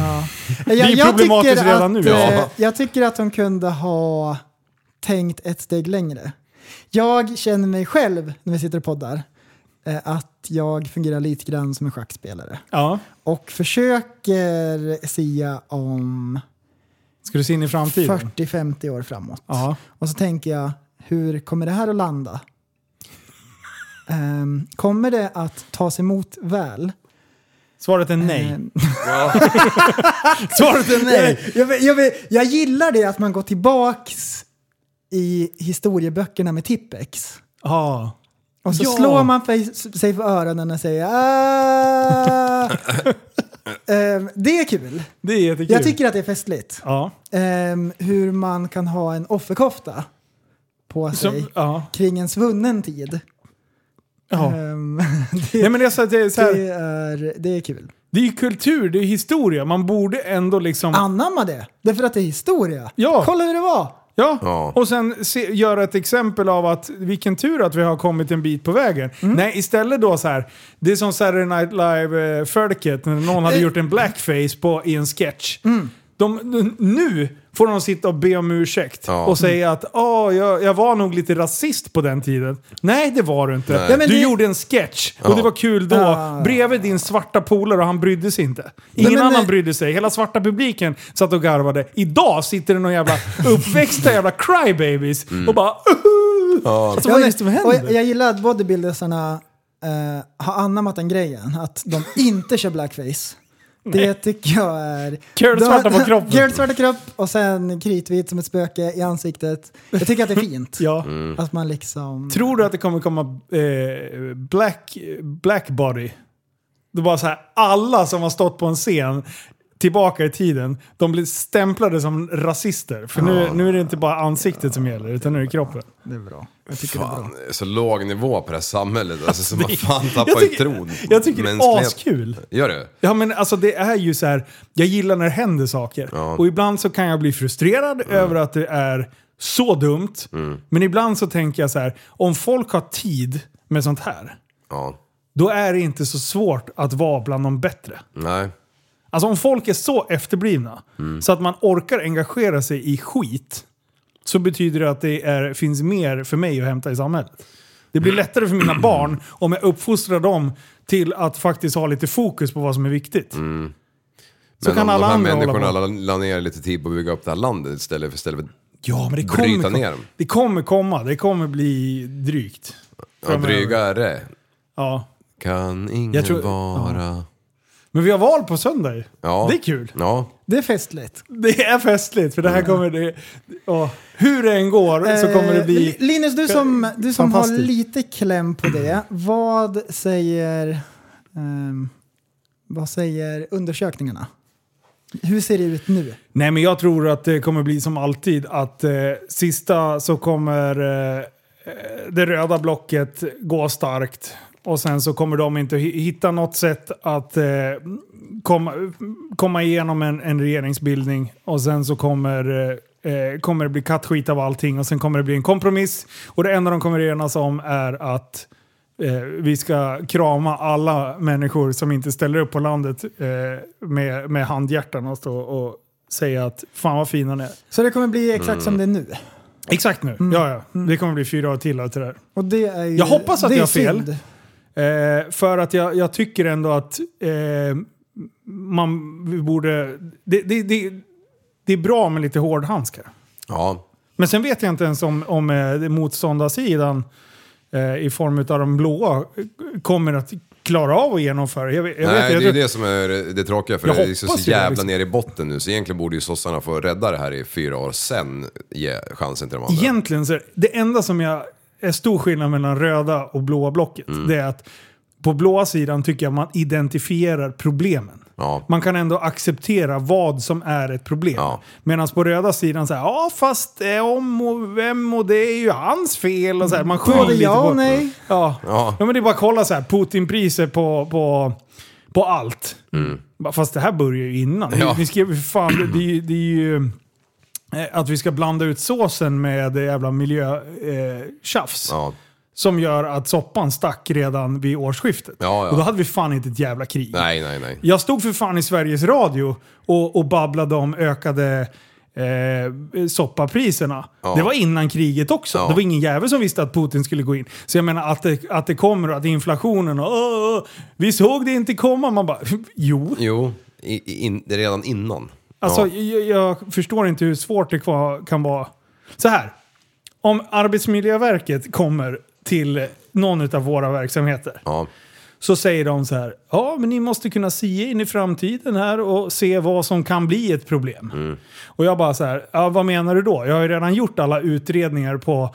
B: Jag,
A: är problematiskt
B: tycker
A: redan
B: att,
A: nu.
B: eh,
A: Ja.
B: Jag tycker att de kunde ha tänkt ett steg längre. Jag känner mig själv när vi sitter och poddar eh, att jag fungerar lite grann som en schackspelare
A: Ja.
B: och försöker sia om
A: Ska du se in i framtiden?
B: 40-50 år framåt.
A: Ja.
B: Och så tänker jag, hur kommer det här att landa? Ehm, kommer det att tas emot väl?
A: Svaret är nej.
B: Ehm,
A: Svaret är nej!
B: Jag, vet- jag, vet- jag gillar det att man går tillbaks i historieböckerna med Tippex.
A: Ja.
B: Och så
A: Ja.
B: slår man fe- sig för öronen och säger "Ah." Ehm, Det är kul.
A: Det är jättekul.
B: Jag tycker att det är festligt.
A: Ja.
B: Ehm, hur man kan ha en offerkofta på sig
A: Som, ja.
B: kring en svunnen tid.
A: ja.
B: Ehm, det,
A: Nej men det är, så, att det, är så här,
B: det, är, det är kul.
A: det är ju kultur, det är historia. Man borde ändå liksom...
B: Anamma det, därför att det är historia.
A: Ja.
B: Kolla hur det var!
A: Ja,
C: Ja.
A: och sen se, göra ett exempel av att vilken tur att vi har kommit en bit på vägen.
C: Mm.
A: Nej, istället då så här. Det är som Saturday Night Live-folket när någon
C: Eh.
A: hade gjort en blackface på, i en sketch.
C: Mm.
A: De, n- nu får de sitta och be om ursäkt
C: Ja.
A: och säga att "Ah, jag, jag var nog lite rasist på den tiden. Nej, det var du inte.
C: Nej,
B: men
A: du
B: det-
A: gjorde en sketch och
C: Ja. Ah.
A: det var kul då.
B: Ja.
A: Bredvid din svarta polare och han brydde sig inte. Ingen
B: men,
A: annan
B: eh,
A: brydde sig. Hela svarta publiken satt och garvade. Idag sitter det någon jävla uppväxta jävla crybabies
B: Mm.
A: och bara "Uhu!" Alltså vad är det som
B: Och
A: händer?
B: jag, jag gillar att bodybuildersarna eh, har anammat den grejen, att de inte kör blackface. Det tycker jag är...
A: Curl
B: De-
A: svarta på kroppen.
B: Curl svarta kropp och sen kritvit som ett spöke i ansiktet. Jag tycker att det är fint.
A: Ja. Typ.
B: Att man liksom...
A: Tror du att det kommer komma eh, black, black body? Det var så här, alla som har stått på en scen tillbaka i tiden, de blir stämplade som rasister. För nu, nu är det inte bara ansiktet som gäller, utan nu är det kroppen.
B: Det är bra. Jag tycker det är bra.
C: Fan, det är så låg nivå på det här samhället. Alltså, så man fan
A: jag
C: tappar ju
A: tycker-
C: tron. på
A: jag tycker det är
C: mänsklighet.
A: askul.
C: Gör du?
A: Ja men alltså det är ju så här. jag gillar när det händer saker. Och ibland så kan jag bli frustrerad över att det är så dumt. Men ibland så tänker jag så här, om folk har tid med sånt här,
C: Ja.
A: då är det inte så svårt att vara bland de bättre.
C: Nej.
A: Alltså om folk är så efterblivna så att man orkar engagera sig i skit, så betyder det att det är, finns mer för mig att hämta i samhället. Det blir lättare för mina barn om jag uppfostrar dem till att faktiskt ha lite fokus på vad som är viktigt. Så
C: Men
A: kan
C: om
A: alla
C: de
A: andra
C: här
A: hålla
C: människorna
A: på.
C: la, la ner lite tid på att bygga upp det här landet istället för, istället för
A: Ja, men det
C: Bryta
A: kommer, komma.
C: ner dem.
A: det kommer komma. Det kommer bli drygt.
C: ja, drygare.
A: Ja.
C: Kan ingen
A: Jag tror-
C: vara...
A: Men vi har val på söndag ju.
C: Ja.
A: Det är kul.
C: Ja.
B: Det är festligt.
A: Det är festligt, för det
C: Mm.
A: här kommer... Det, ja, hur det än går så kommer det
B: Eh,
A: bli...
B: Linus, du som, du som har
A: Fantastiskt.
B: lite kläm på det. Vad säger, ehm, vad säger undersökningarna? Hur ser det ut nu?
A: Nej, men jag tror att det kommer bli som alltid att eh, sista så kommer eh, det röda blocket gå starkt. Och sen så kommer de inte hi- hitta något sätt att eh, komma, komma igenom en, en regeringsbildning. Och sen så kommer, eh, eh, kommer det bli kattskit av allting. Och sen kommer det bli en kompromiss. Och det enda de kommer enas om är att eh, vi ska krama alla människor som inte ställer upp på landet eh, med, med handhjärtan och, stå och säga att fan vad fina ni är.
B: Så det kommer bli exakt
A: Mm.
B: som det är nu.
A: Exakt nu. Mm. Ja, ja. Det kommer bli fyra år till av det där.
B: Och det är ju,
A: Jag hoppas att
B: det är
A: jag har fel.
B: synd.
A: Eh, för att jag, jag tycker ändå att eh, man vi borde... Det, det, det, det är bra med lite hårdhandskar.
C: Ja.
A: Men sen vet jag inte ens om, om eh, motståndarsidan eh, i form av de blåa eh, kommer att klara av att genomföra. Jag, vet- jag vet,
C: Nej,
A: jag
C: det är
A: tror-
C: ju det som är det tråkiga för
A: Jag
C: det är så,
A: hoppas ju
C: så
A: det,
C: jävla
A: liksom.
C: ner i botten nu så egentligen borde ju sossarna få rädda det här i fyra år sen ge chansen till de andra.
A: Egentligen så är det enda som jag är stor skillnad mellan röda och blåa blocket.
C: Mm.
A: Det är att på blåa sidan tycker jag man identifierar problemen.
C: Ja.
A: Man kan ändå acceptera vad som är ett problem. Medan på röda sidan så här, ja fast eh, om och vem och det är ju hans fel och så här. Man skyller
B: Både
A: lite
B: ja
A: på...
B: och nej.
A: Ja. ja. men det är bara att kolla så här, Putinpriser på, på, på allt. Bara, Fast det här börjar ju innan.
C: Mm. Ja.
A: Ni, ni skrev ju för fan, det, det, är ju- det är ju... eh, Att vi ska blanda ut såsen med eh, jävla miljötjafs. Eh, tjafs.
C: Ja.
A: Som gör att soppan stack redan vid årsskiftet.
C: Ja, ja.
A: Och då hade vi fan inte ett jävla krig.
C: Nej, nej, nej.
A: Jag stod för fan i Sveriges Radio och, och babblade om ökade eh, soppapriserna.
C: Ja.
A: Det var innan kriget också. Det var ingen jävel som visste att Putin skulle gå in. Så jag menar att det, att det kommer och att inflationen och "Åh, åh, vi såg det inte komma. Man bara jo.
C: Jo, i, i- in, det är redan innan.
A: Alltså
C: ja.
A: jag, jag förstår inte hur svårt det kva- kan vara. Så här. Om Arbetsmiljöverket kommer till någon av våra verksamheter.
C: Ja.
A: Så säger de så här. Ja, men ni måste kunna se in i framtiden här och se vad som kan bli ett problem. Och jag bara så här. Ja, vad menar du då? Jag har ju redan gjort alla utredningar på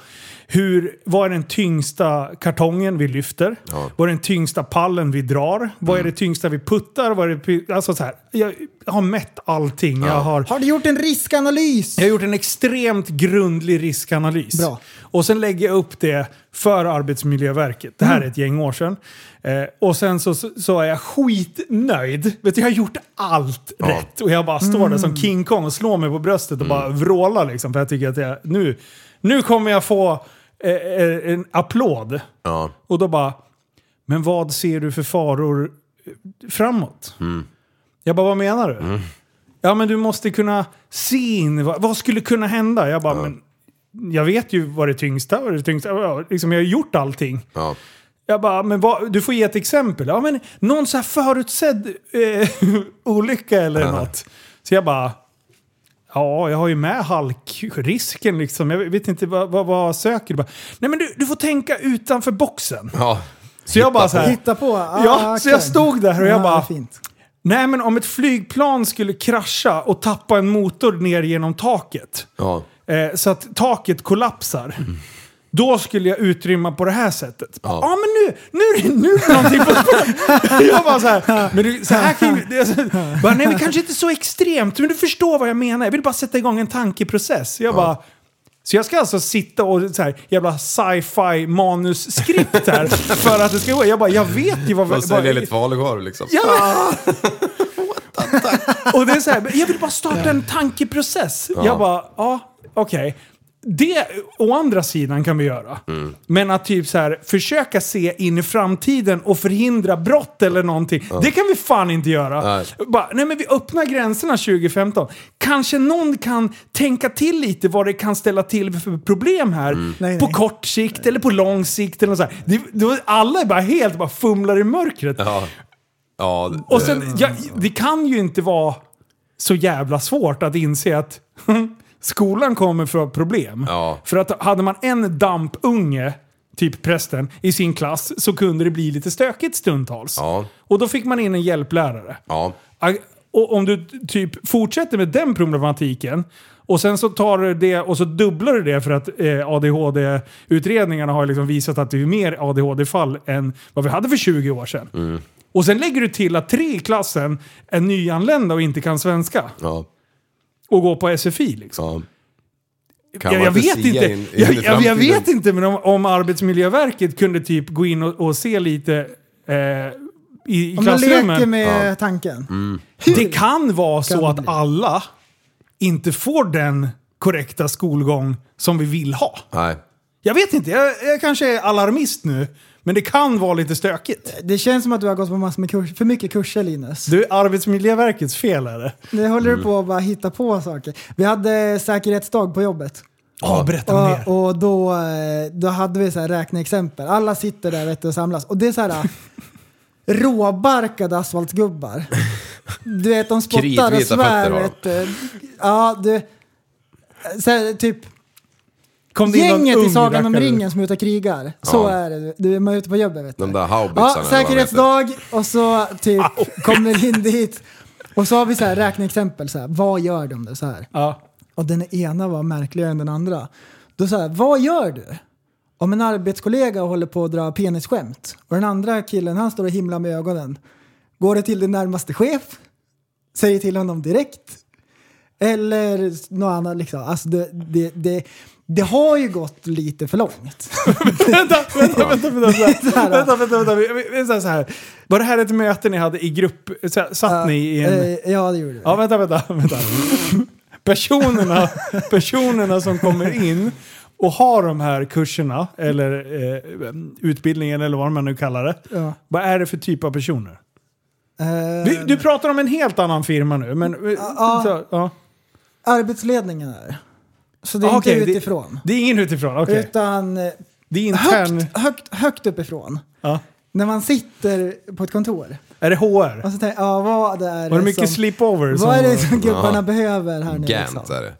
A: hur, vad är den tyngsta kartongen vi lyfter? Vad är den tyngsta pallen vi drar? Vad är det tyngsta vi puttar? Vad är det, py- alltså så här, jag har mätt allting. Jag har
B: Har du gjort en riskanalys?
A: jag har gjort en extremt grundlig riskanalys.
B: Bra.
A: Och sen lägger jag upp det för Arbetsmiljöverket. Det här är ett gäng år sedan. Eh, och sen så, så är jag skitnöjd. Vet du, jag har gjort allt rätt. Och jag bara står där som King Kong och slår mig på bröstet och bara vrålar. Liksom, för jag tycker att jag, nu, nu kommer jag få eh, eh, en applåd.
C: Ja.
A: Och då bara, men vad ser du för faror eh, framåt? Jag bara, vad menar du? Ja, men du måste kunna se in, vad, vad skulle kunna hända? Jag bara, men jag vet ju vad det tyngsta, vad det tyngsta, ja, liksom jag har gjort allting.
C: Ja.
A: Jag bara, men vad, du får ge ett exempel. Ja, men någon så här förutsedd eh, olycka eller något. Så jag bara, ja, jag har ju med halkrisken liksom. Jag vet inte vad, vad, vad söker du? Bara, Nej, men du, du får tänka utanför boxen.
C: Ja.
A: Så jag bara så här,
B: Hitta på. Ah,
A: Ja, så jag
B: okej.
A: stod där och jag
B: Ja,
A: bara-
B: Fint.
A: Nej, men om ett flygplan skulle krascha och tappa en motor ner genom taket.
C: Ja.
A: Eh, så att taket kollapsar. Då skulle jag utrymma på det här sättet. Ja, ah, men nu, nu, är det- nu är det någonting på spåren. Jag bara så här, men du, så här kan ju, det, är- bara, nej men kanske inte så extremt, men du förstår vad jag menar. Jag vill bara sätta igång en tankeprocess. Jag bara, så jag ska alltså sitta och så här, jävla sci-fi manusskript här för att det ska gå. Jag bara, jag vet ju vad...
C: Och
A: vad-
C: sälja lite falukorv liksom.
A: Ja! och det är så här, jag vill bara starta en tankeprocess. Jag bara, ja, okej. Det å andra sidan kan vi göra.
C: Mm.
A: Men att typ så här, försöka se in i framtiden och förhindra brott eller någonting. Det kan vi fan inte göra.
C: Nej.
A: Bara, nej men vi öppnar gränserna 2015. Kanske någon kan tänka till lite vad det kan ställa till för problem här.
C: Mm.
B: Nej,
A: på
B: nej.
A: kort sikt eller på lång sikt. Eller något så här. Det, då, alla är bara helt bara fumlar i mörkret.
C: Ja. Ja, det-
A: Och sen, ja, det kan ju inte vara så jävla svårt att inse att skolan kommer för problem.
C: Ja.
A: För att hade man en dampunge, typ prästen, i sin klass så kunde det bli lite stökigt stundtals.
C: Ja.
A: Och då fick man in en hjälplärare.
C: Ja.
A: Ag- Och om du t- typ fortsätter med den problematiken och sen så tar du det och så dubblar du det för att eh, ADHD-utredningarna har liksom visat att det är mer ADHD-fall än vad vi hade för 20 år sedan.
C: Mm.
A: Och sen lägger du till att tre i klassen är nyanlända och inte kan svenska
C: Ja.
A: och går på SFI. Liksom.
C: Ja. Kan
A: Jag,
C: man
A: jag vet
C: sia
A: inte,
C: in- in i
A: jag, jag, jag
C: framtiden?
A: vet inte men om, om Arbetsmiljöverket kunde typ gå in och, och se lite eh, i, i
B: Om man leker
A: klassrummen.
B: med tanken.
A: Det kan vara så
B: Kan
A: att
B: bli.
A: alla inte får den korrekta skolgång som vi vill ha.
C: Nej.
A: Jag vet inte, jag, jag kanske är alarmist nu, men det kan vara lite stökigt.
B: Det känns som att du har gått på massor med kurs, för mycket kurser Linus.
A: Du, Arbetsmiljöverkets fel är det.
B: Nu håller du på att bara hitta på saker. Vi hade säkerhetsdag på jobbet.
A: Ja, berätta mer.
B: Och, och då, eh, då hade vi så här räkneexempel. Alla sitter där vet du, och samlas. Och det är så här eh, råbarkade asfaltgubbar Du vet, de spottar och
C: Kritvita fötter
B: svär.
C: har
B: Vet, du. ja, du... eh, Så här, typ...
A: Kom det in någon
B: Gänget i
A: ung
B: Sagan om
A: rackare?
B: ringen som är ute och krigar. Så
C: Ja.
B: är det. Du man är ute på jobbet vet du.
C: De där haubitsarna.
B: Ja,
C: eller vad de
B: säkerhetsdag och så typ kommer in dit. Och så har vi så här räkneexempel. Så här, vad gör de? Då, så här.
A: Ja.
B: Och den ena var märkligare än den andra. Då så här, vad gör du? Om en arbetskollega håller på att dra penisskämt och den andra killen han står och himlar med ögonen. Går det till din närmaste chef? Säger till honom direkt? Eller något annat liksom. Alltså det, det, det, det har ju gått lite för långt.
A: vänta, vänta, vänta, vänta,
B: så här,
A: vänta,
B: då.
A: vänta, vänta, vänta, vi- vi- vi säger så här. Var det här ett möte ni hade i grupp? Så här, Satt ni i en...
B: Eh, Ja, det gjorde vi.
A: Ja, vänta, vänta, vänta. Personerna, personerna som kommer in och har de här kurserna, eller eh, utbildningen eller vad man nu kallar det.
B: Ja.
A: Vad är det för typ av personer?
B: Eh,
A: Du, du pratar om en helt annan firma nu, men... eh,
B: ja.
A: så, ja.
B: Arbetsledningen är. Så det är
A: Ah, okej,
B: inte
A: det-
B: utifrån.
A: Det är ingen utifrån, okej.
B: Utan eh,
A: Det är intern...
B: högt, högt, högt uppifrån.
A: Ja.
B: När man sitter på ett kontor.
A: Är det HR?
B: Och så tänker jag, ja, vad är det
A: Var det mycket
B: Alltså, som,
A: sleepover?
B: Vad
A: som-
B: är det som gubbarna
C: Ja.
B: behöver här nu?
C: Gant
B: liksom?
C: är det.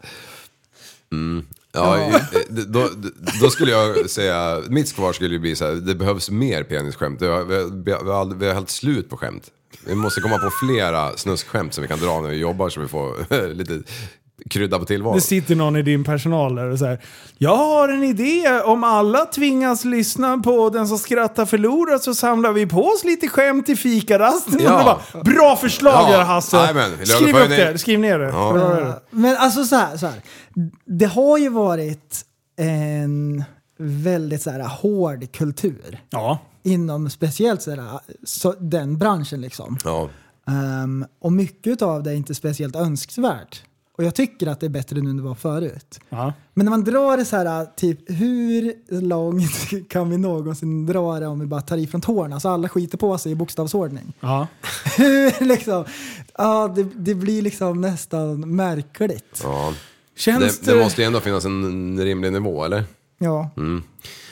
C: Mm. Ja, eh, Då, då skulle jag säga, mitt svar skulle ju bli så här, det behövs mer penisskämt. Vi har, vi, har, vi, har, aldrig- vi har helt slut på skämt. Vi måste komma på flera snuskskämt som vi kan dra när vi jobbar så vi får lite krydda på tillvaron.
A: Det sitter någon i din personal där och säger Jag har en idé. Om alla tvingas lyssna på den som skrattar förlorar så samlar vi på oss lite skämt i fikarasten.
C: Ja.
A: Och det bara, Bra förslag
C: Ja.
A: där Hasse!
C: Jajamän,
A: Skriv upp
C: löneförhöjning.
A: det. Skriv ner det.
C: Ja.
A: Bra är det.
B: Men alltså så här, så här. Det har ju varit en väldigt så här hård kultur
A: Ja.
B: inom speciellt så här, så, den branschen liksom.
C: Ja.
B: Ehm, och mycket av det är inte speciellt önskvärt. Och jag tycker att det är bättre nu än det var förut.
A: Ja.
B: Men när man drar det så här, typ hur långt kan vi någonsin dra det om vi bara tar ifrån tårna så alla skiter på sig i bokstavsordning?
A: Ja.
B: Hur liksom, ja det, det blir liksom nästan märkligt.
C: Ja.
A: Känns
C: Det,
A: det...
C: det måste ju ändå finnas en rimlig nivå, eller?
B: Ja.
C: Mm.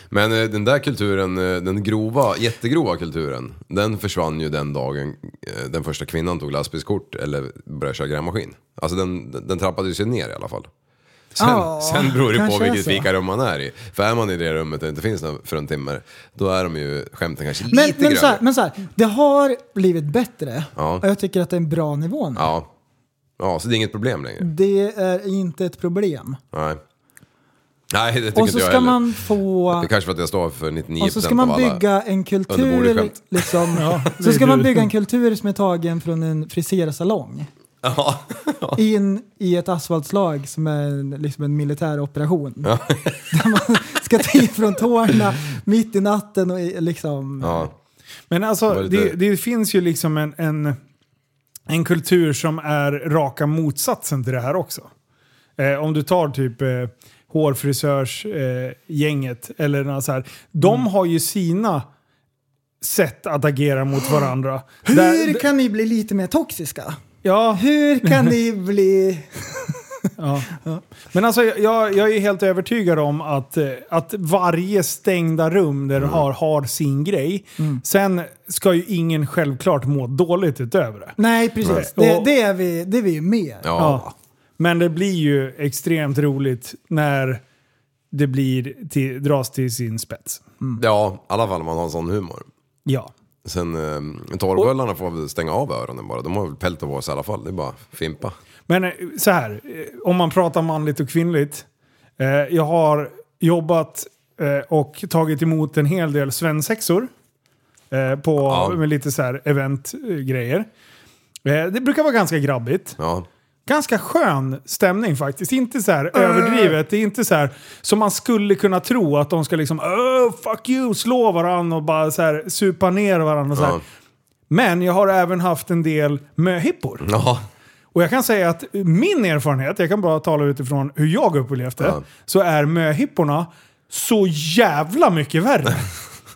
C: Men eh, den där kulturen, eh, den grova, jättegrova kulturen, den försvann ju den dagen eh, den första kvinnan tog lastbilskort eller började köra grävmaskin. Alltså den, den trappades ju ner i alla fall. Sen,
B: Ja,
C: sen beror det på
B: kanske är
C: vilket
B: så.
C: fikarum man är i. För är man i det rummet där det inte finns några för en timme, då är de ju skämten kanske
B: Men,
C: lite
B: men, så här,
C: grövre.
B: men så här, det har blivit bättre
C: Ja.
B: och jag tycker att det är en bra nivå nu.
C: Ja. ja, så det är inget problem längre.
B: Det är inte ett problem.
C: Nej, Nej det tycker
B: Och
C: inte
B: så
C: jag
B: ska
C: heller.
B: man få...
C: Det är kanske för att jag står för 99%
B: Och så ska
C: av
B: man
C: alla...
B: bygga en
C: undermåliga
B: kultur,
C: skämt.
B: liksom,
A: det
B: så
A: är
B: ska man
A: du.
B: bygga en kultur som är tagen från en frisersalong
C: Ja.
B: in i ett asfaltslag som är en- liksom en militär operation. Där man ska ta ifrån tårna mitt i natten och i- liksom...
C: ja.
A: Men alltså,
C: Var det
A: det,
C: där?
A: det finns ju liksom en, en, en kultur som är raka motsatsen till det här också. Eh, om du tar typ eh, hårfrisörsgänget eh, gänget eller något så här. De
B: Mm.
A: har ju sina sätt att agera mot varandra. Där-
B: Hur kan ni bli lite mer toxiska?
A: ja,
B: Hur kan ni bli...
A: Ja. Men alltså jag, jag är helt övertygad om att, eh, att varje stängda rum där du
B: Mm.
A: har, har sin grej. Sen ska ju ingen självklart må dåligt utöver det.
B: Nej, precis.
A: Nej.
B: Det, det är vi det är vi ju med.
C: ja.
A: Men det blir ju extremt roligt när det blir till, dras till sin spets.
C: Ja, i alla fall om man har en sån humor.
A: Ja.
C: Sen eh, torvbullarna får väl stänga av öronen bara. De har väl pält på sig i alla fall. Det är bara fimpa.
A: Men eh, så här, eh, om man pratar manligt och kvinnligt. Eh, jag har jobbat eh, och tagit emot en hel del svensexor. Eh, på
C: Ja.
A: med lite så här eventgrejer. Eh, det brukar vara ganska grabbigt.
C: Ja.
A: Ganska skön stämning faktiskt. Inte så här överdrivet. Det är inte så här som man skulle kunna tro att de ska liksom "Åh, fuck you, slå varandra och bara så här supa ner varandra. Och så här.
C: Ja.
A: Men jag har även haft en del möhippor.
C: Ja.
A: Och jag kan säga att min erfarenhet, jag kan bara tala utifrån hur jag upplevt det,
C: Ja.
A: så är möhipporna så jävla mycket värre.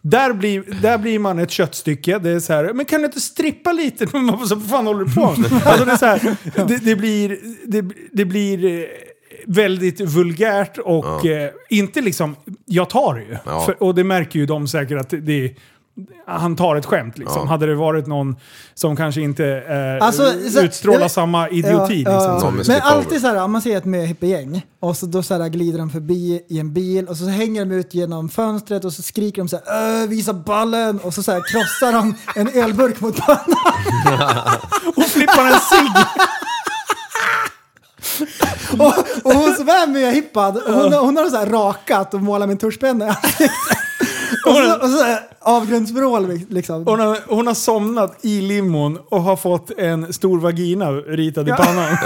A: Där blir, där blir man ett köttstycke. Det är så här, men kan du inte strippa lite? Men man bara, så, vad fan håller du på med? Alltså det, är så här, det, det blir, det, det blir eh, väldigt vulgärt och eh, inte liksom, jag tar det ju.
C: Ja.
A: För, och det märker ju de säkert att det, det, han tar ett skämt liksom.
C: Ja.
A: Hade det varit någon som kanske inte eh,
B: Alltså, så-
A: utstrålar
B: jag-
A: samma idioti
B: Ja, ja,
A: liksom.
B: ja.
A: som-
B: Men alltid så här, om man ser ett möhippargäng och så då så här glider de förbi i en bil och så hänger de ut genom fönstret och så skriker de så här "Öh, visa ballen och så, så här krossar de en ölburk mot pannan.
A: och flippar en cigg.
B: och, och hon som är möhippad, hon, hon har så här rakat och målat med en tuschpenna i ansiktet. Och så, och så här avgrundsvrål liksom.
A: Hon har, hon har somnat i limon och har fått en stor vagina ritad i pannan.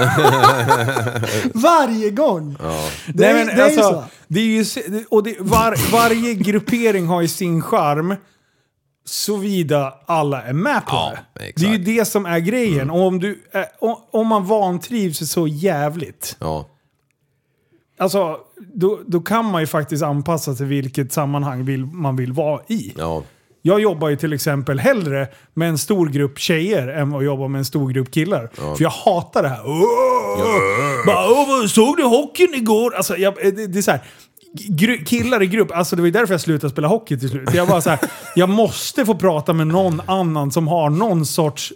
B: Varje gång! Det,
A: Nej,
B: är-
A: men,
B: det är
A: alltså,
B: ju så.
A: Det är ju, se- och det, var, varje gruppering har ju sin charm. Såvida alla är med på det.
C: exakt.
A: Det är ju det som är grejen. Och om, du, eh, o- om man vantrivs så jävligt,
C: Ja.
A: alltså, då, då kan man ju faktiskt anpassa sig vilket sammanhang vill, man vill vara i.
C: Ja.
A: Jag jobbar ju till exempel hellre med en stor grupp tjejer än vad jag jobbar med en stor grupp killar. För jag hatar det här. Åh! Bara, "Åh, vad- såg du hockeyn igår? Alltså, jag, det, det är så här. Gru, killar i grupp, alltså det var ju därför jag slutade spela hockey till slut. Jag bara så här, jag måste få prata med någon annan som har någon sorts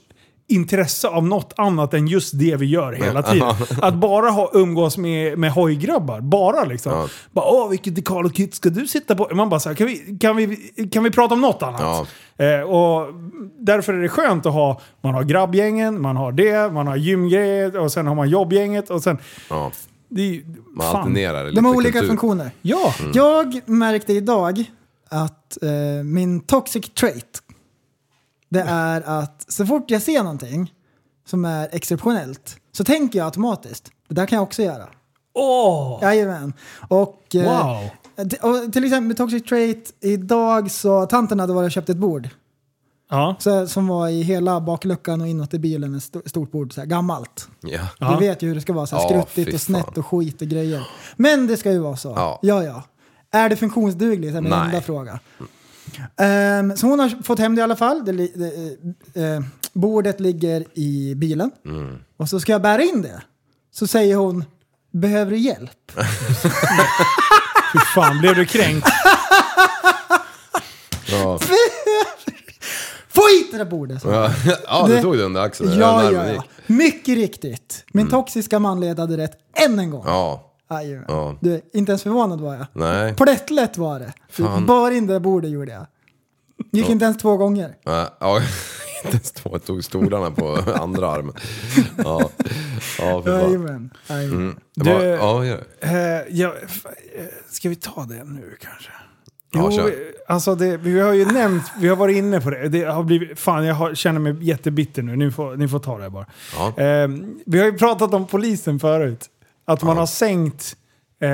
A: intresse av något annat än just det vi gör hela tiden. Att bara ha, umgås med, med hojgrabbar, bara liksom. Bara, Åh, vilket Karl och Kit ska du sitta på? Man bara så här, kan vi, kan vi, kan vi prata om något annat?
C: Ja.
A: Eh, och därför är det skönt att ha, man har grabbgängen, man har det, man har gymgrejer och sen har man jobbgänget och sen...
C: ja.
A: Det är, ju-
C: Man
A: fan.
C: alternerar Mm. lite
B: De har olika
C: kultur.
B: funktioner.
A: Ja,
B: Jag märkte idag att eh, min toxic trait det är att så fort jag ser någonting som är exceptionellt så tänker jag automatiskt det där kan jag också göra.
A: åh!
B: Jajamän. Och, eh,
A: Wow.
B: t- och till exempel med toxic trait idag så tanten hade varit och köpt ett bord
A: Ja.
B: så, som var i hela bakluckan och inåt i bilen ett sto- stort bord, så här, gammalt.
C: Ja.
A: Ja.
B: Du vet ju hur det ska vara, så här,
C: Ja,
B: skruttigt
C: fy
B: och snett
C: fan.
B: och skit och grejer. Men det ska ju vara så.
C: Ja.
B: ja. ja. Är det funktionsdugligt? Det är min
C: Nej.
B: enda fråga. Ehm, så hon har fått hem det i alla fall. Det, li- det, eh, eh, bordet ligger i bilen.
C: Mm.
B: Och så ska jag bära in det. Så säger hon, behöver du hjälp?
A: Fy fan, blev du kränkt?
C: Ja.
B: Få hit det där bordet! sa hon.
C: Ja. ja, det tog du under axeln.
B: Ja,
C: Nerven
B: ja, ja.
C: gick.
B: Mycket riktigt. Min toxiska manlighet hade rätt än en gång.
C: Mm. ja.
B: Jajamän.
C: Ja.
B: Du, inte ens förvånad var jag.
C: Nej.
B: Plättlätt var det. Du,
C: Fan.
B: bar in det bordet gjorde jag. Gick inte ens två gånger.
C: Nej, Ja, inte ens två. Jag tog stolarna på andra armen. Ja, ja för fan.
B: Jajamän. Jajamän.
C: Det var,
A: Du-
C: ja, gör det.
A: Eh, ja, f- eh, ska vi ta det nu kanske?
C: Ja, kör.
A: vi- alltså det, vi har ju nämnt, vi har varit inne på det. det har blivit, fan, jag har, känner mig jättebitter nu. Ni får, ni får ta det här bara.
C: Ja.
A: Eh, vi har ju pratat om polisen förut. Att man har sänkt eh,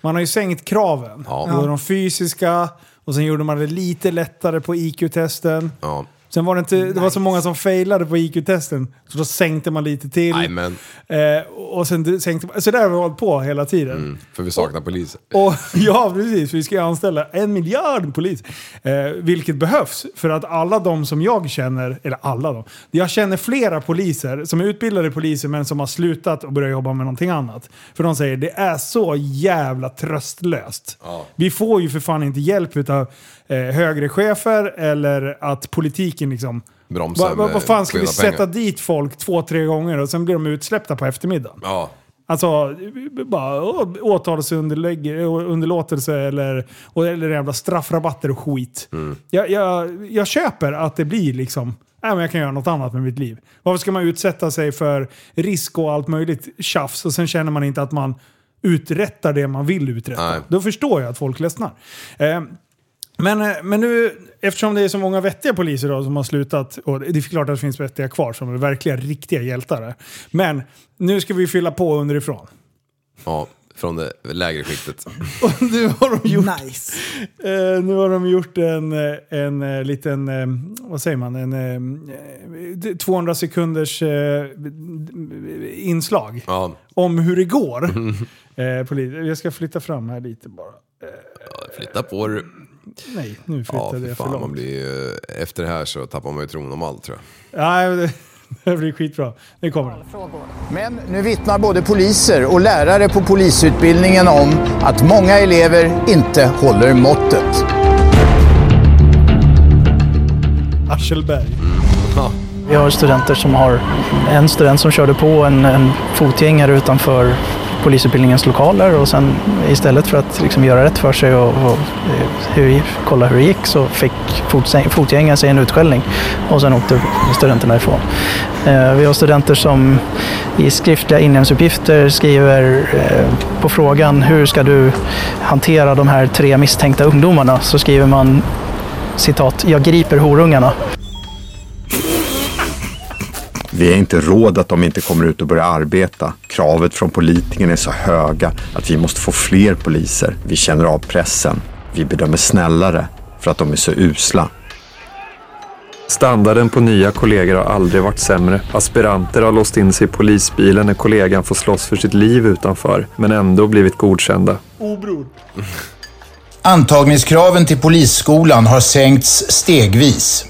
A: man har ju sänkt kraven.
C: Ja.
A: Det var de fysiska och sen gjorde man det lite lättare på IQ-testen.
C: Ja.
A: Sen var det inte, det var så många som failade på IQ-testen. Så då sänkte man lite till.
C: Nej, men.
A: Eh, och sen sänkte man, så där har vi hållit på hela tiden.
C: För vi saknar poliser.
A: Och, ja, precis. Vi ska ju anställa en miljard polis. Eh, vilket behövs. För att alla de som jag känner, eller alla de. Jag känner flera poliser som är utbildade poliser men som har slutat och börjat jobba med någonting annat. För de säger det är så jävla tröstlöst.
C: Ja.
A: Vi får ju för fan inte hjälp utav eh, högre chefer eller att politiken liksom...
C: Bromsa
A: Vad va,
C: med
A: vad fan ska vi
C: skilda pengar.
A: sätta dit folk två, tre gånger och sen blir de utsläppta på eftermiddagen?
C: Ja.
A: Alltså, bara åh, åtalsunderlägg- underlåtelse eller, och- eller jävla straffrabatter och skit. Jag, jag, jag köper att det blir liksom, nej men jag kan göra något annat med mitt liv. Varför ska man utsätta sig för risk och allt möjligt tjafs och sen känner man inte att man uträttar det man vill uträtta?
C: Nej.
A: Då förstår jag att folk ledsnar. Eh, men, eh, men nu, eftersom det är så många vettiga poliser då som har slutat, och det är klart att det finns vettiga kvar som är verkliga, riktiga hjältar. Men nu ska vi fylla på underifrån.
C: ja, från det lägre skiktet.
A: Och nu har de gjort,
B: Nice.
A: eh, nu har de gjort en, eh, en eh, liten, eh, vad säger man, en, eh, eh, 200 sekunders eh, inslag
C: Ja,
A: om hur det går. Eh, poli- jag ska flytta fram här lite bara.
C: flytta på du.
A: Nej, nu
C: Ja,
A: flyttade
C: för
A: jag för
C: fan.
A: långt.
C: Man blir, ju- efter det här så tappar man ju tron om allt tror jag.
A: Nej, det, det blir skitbra. Nu kommer den.
H: Men nu vittnar både poliser och lärare på polisutbildningen om att många elever inte håller måttet.
A: Aschelberg.
I: Vi har studenter som har, en student som körde på en, en fotgängare utanför polisutbildningens lokaler och sen istället för att liksom göra rätt för sig och, och eh, hur, kolla hur det gick så fick fotsäng- fotgängaren sig en utskällning och sen åkte studenterna ifrån. Eh, Vi har studenter som i skriftliga inlämningsuppgifter skriver eh, på frågan hur ska du hantera de här tre misstänkta ungdomarna så skriver man citat, jag griper horungarna.
J: Vi är inte råd att de inte kommer ut och börjar arbeta. Kravet från politikerna är så höga att vi måste få fler poliser. Vi känner av pressen. Vi bedömer snällare för att de är så usla.
K: Standarden på nya kollegor har aldrig varit sämre. Aspiranter har låst in sig i polisbilen när kollegan får slåss för sitt liv utanför, men ändå blivit godkända.
H: Obror. Antagningskraven till Polisskolan har sänkts stegvis.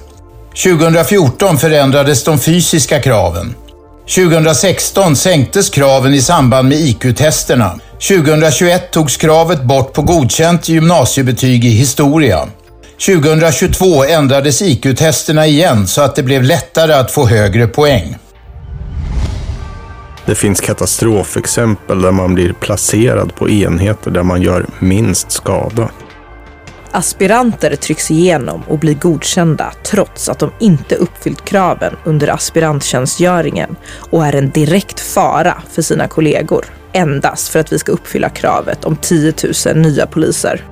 H: 2014 förändrades de fysiska kraven. 2016 sänktes kraven i samband med IQ-testerna. 2021 togs kravet bort på godkänt gymnasiebetyg i historia. 2022 ändrades IQ-testerna igen så att det blev lättare att få högre poäng.
L: Det finns katastrofexempel där man blir placerad på enheter där man gör minst skada.
M: Aspiranter trycks igenom och blir godkända trots att de inte uppfyllt kraven under aspiranttjänstgöringen och är en direkt fara för sina kollegor. Endast för att vi ska uppfylla kravet om 10 000 nya poliser.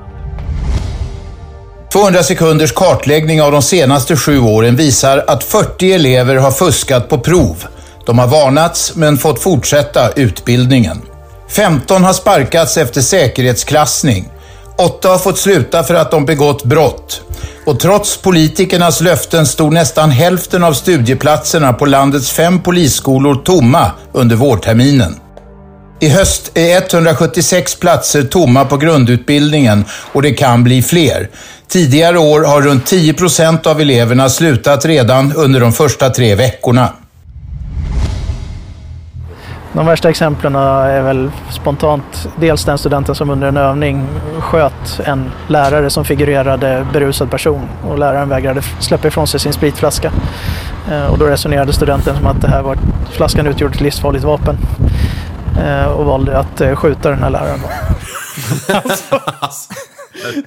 H: 200 sekunders kartläggning av de senaste sju åren visar att 40 elever har fuskat på prov. De har varnats men fått fortsätta utbildningen. 15 har sparkats efter säkerhetsklassning. 8 har fått sluta för att de begått brott. Och trots politikernas löften stod nästan hälften av studieplatserna på landets fem polisskolor tomma under vårterminen. I höst är 176 platser tomma på grundutbildningen och det kan bli fler. Tidigare år har runt 10 procent av eleverna slutat redan under de första tre veckorna.
I: De värsta exemplen är väl spontant dels den studenten som under en övning sköt en lärare som figurerade berusad person och läraren vägrade f- släppa ifrån sig sin spritflaska. Eh, Och då resonerade studenten som att det här var, flaskan utgjorde ett livsfarligt vapen Eh, och valde att eh, skjuta den här läraren.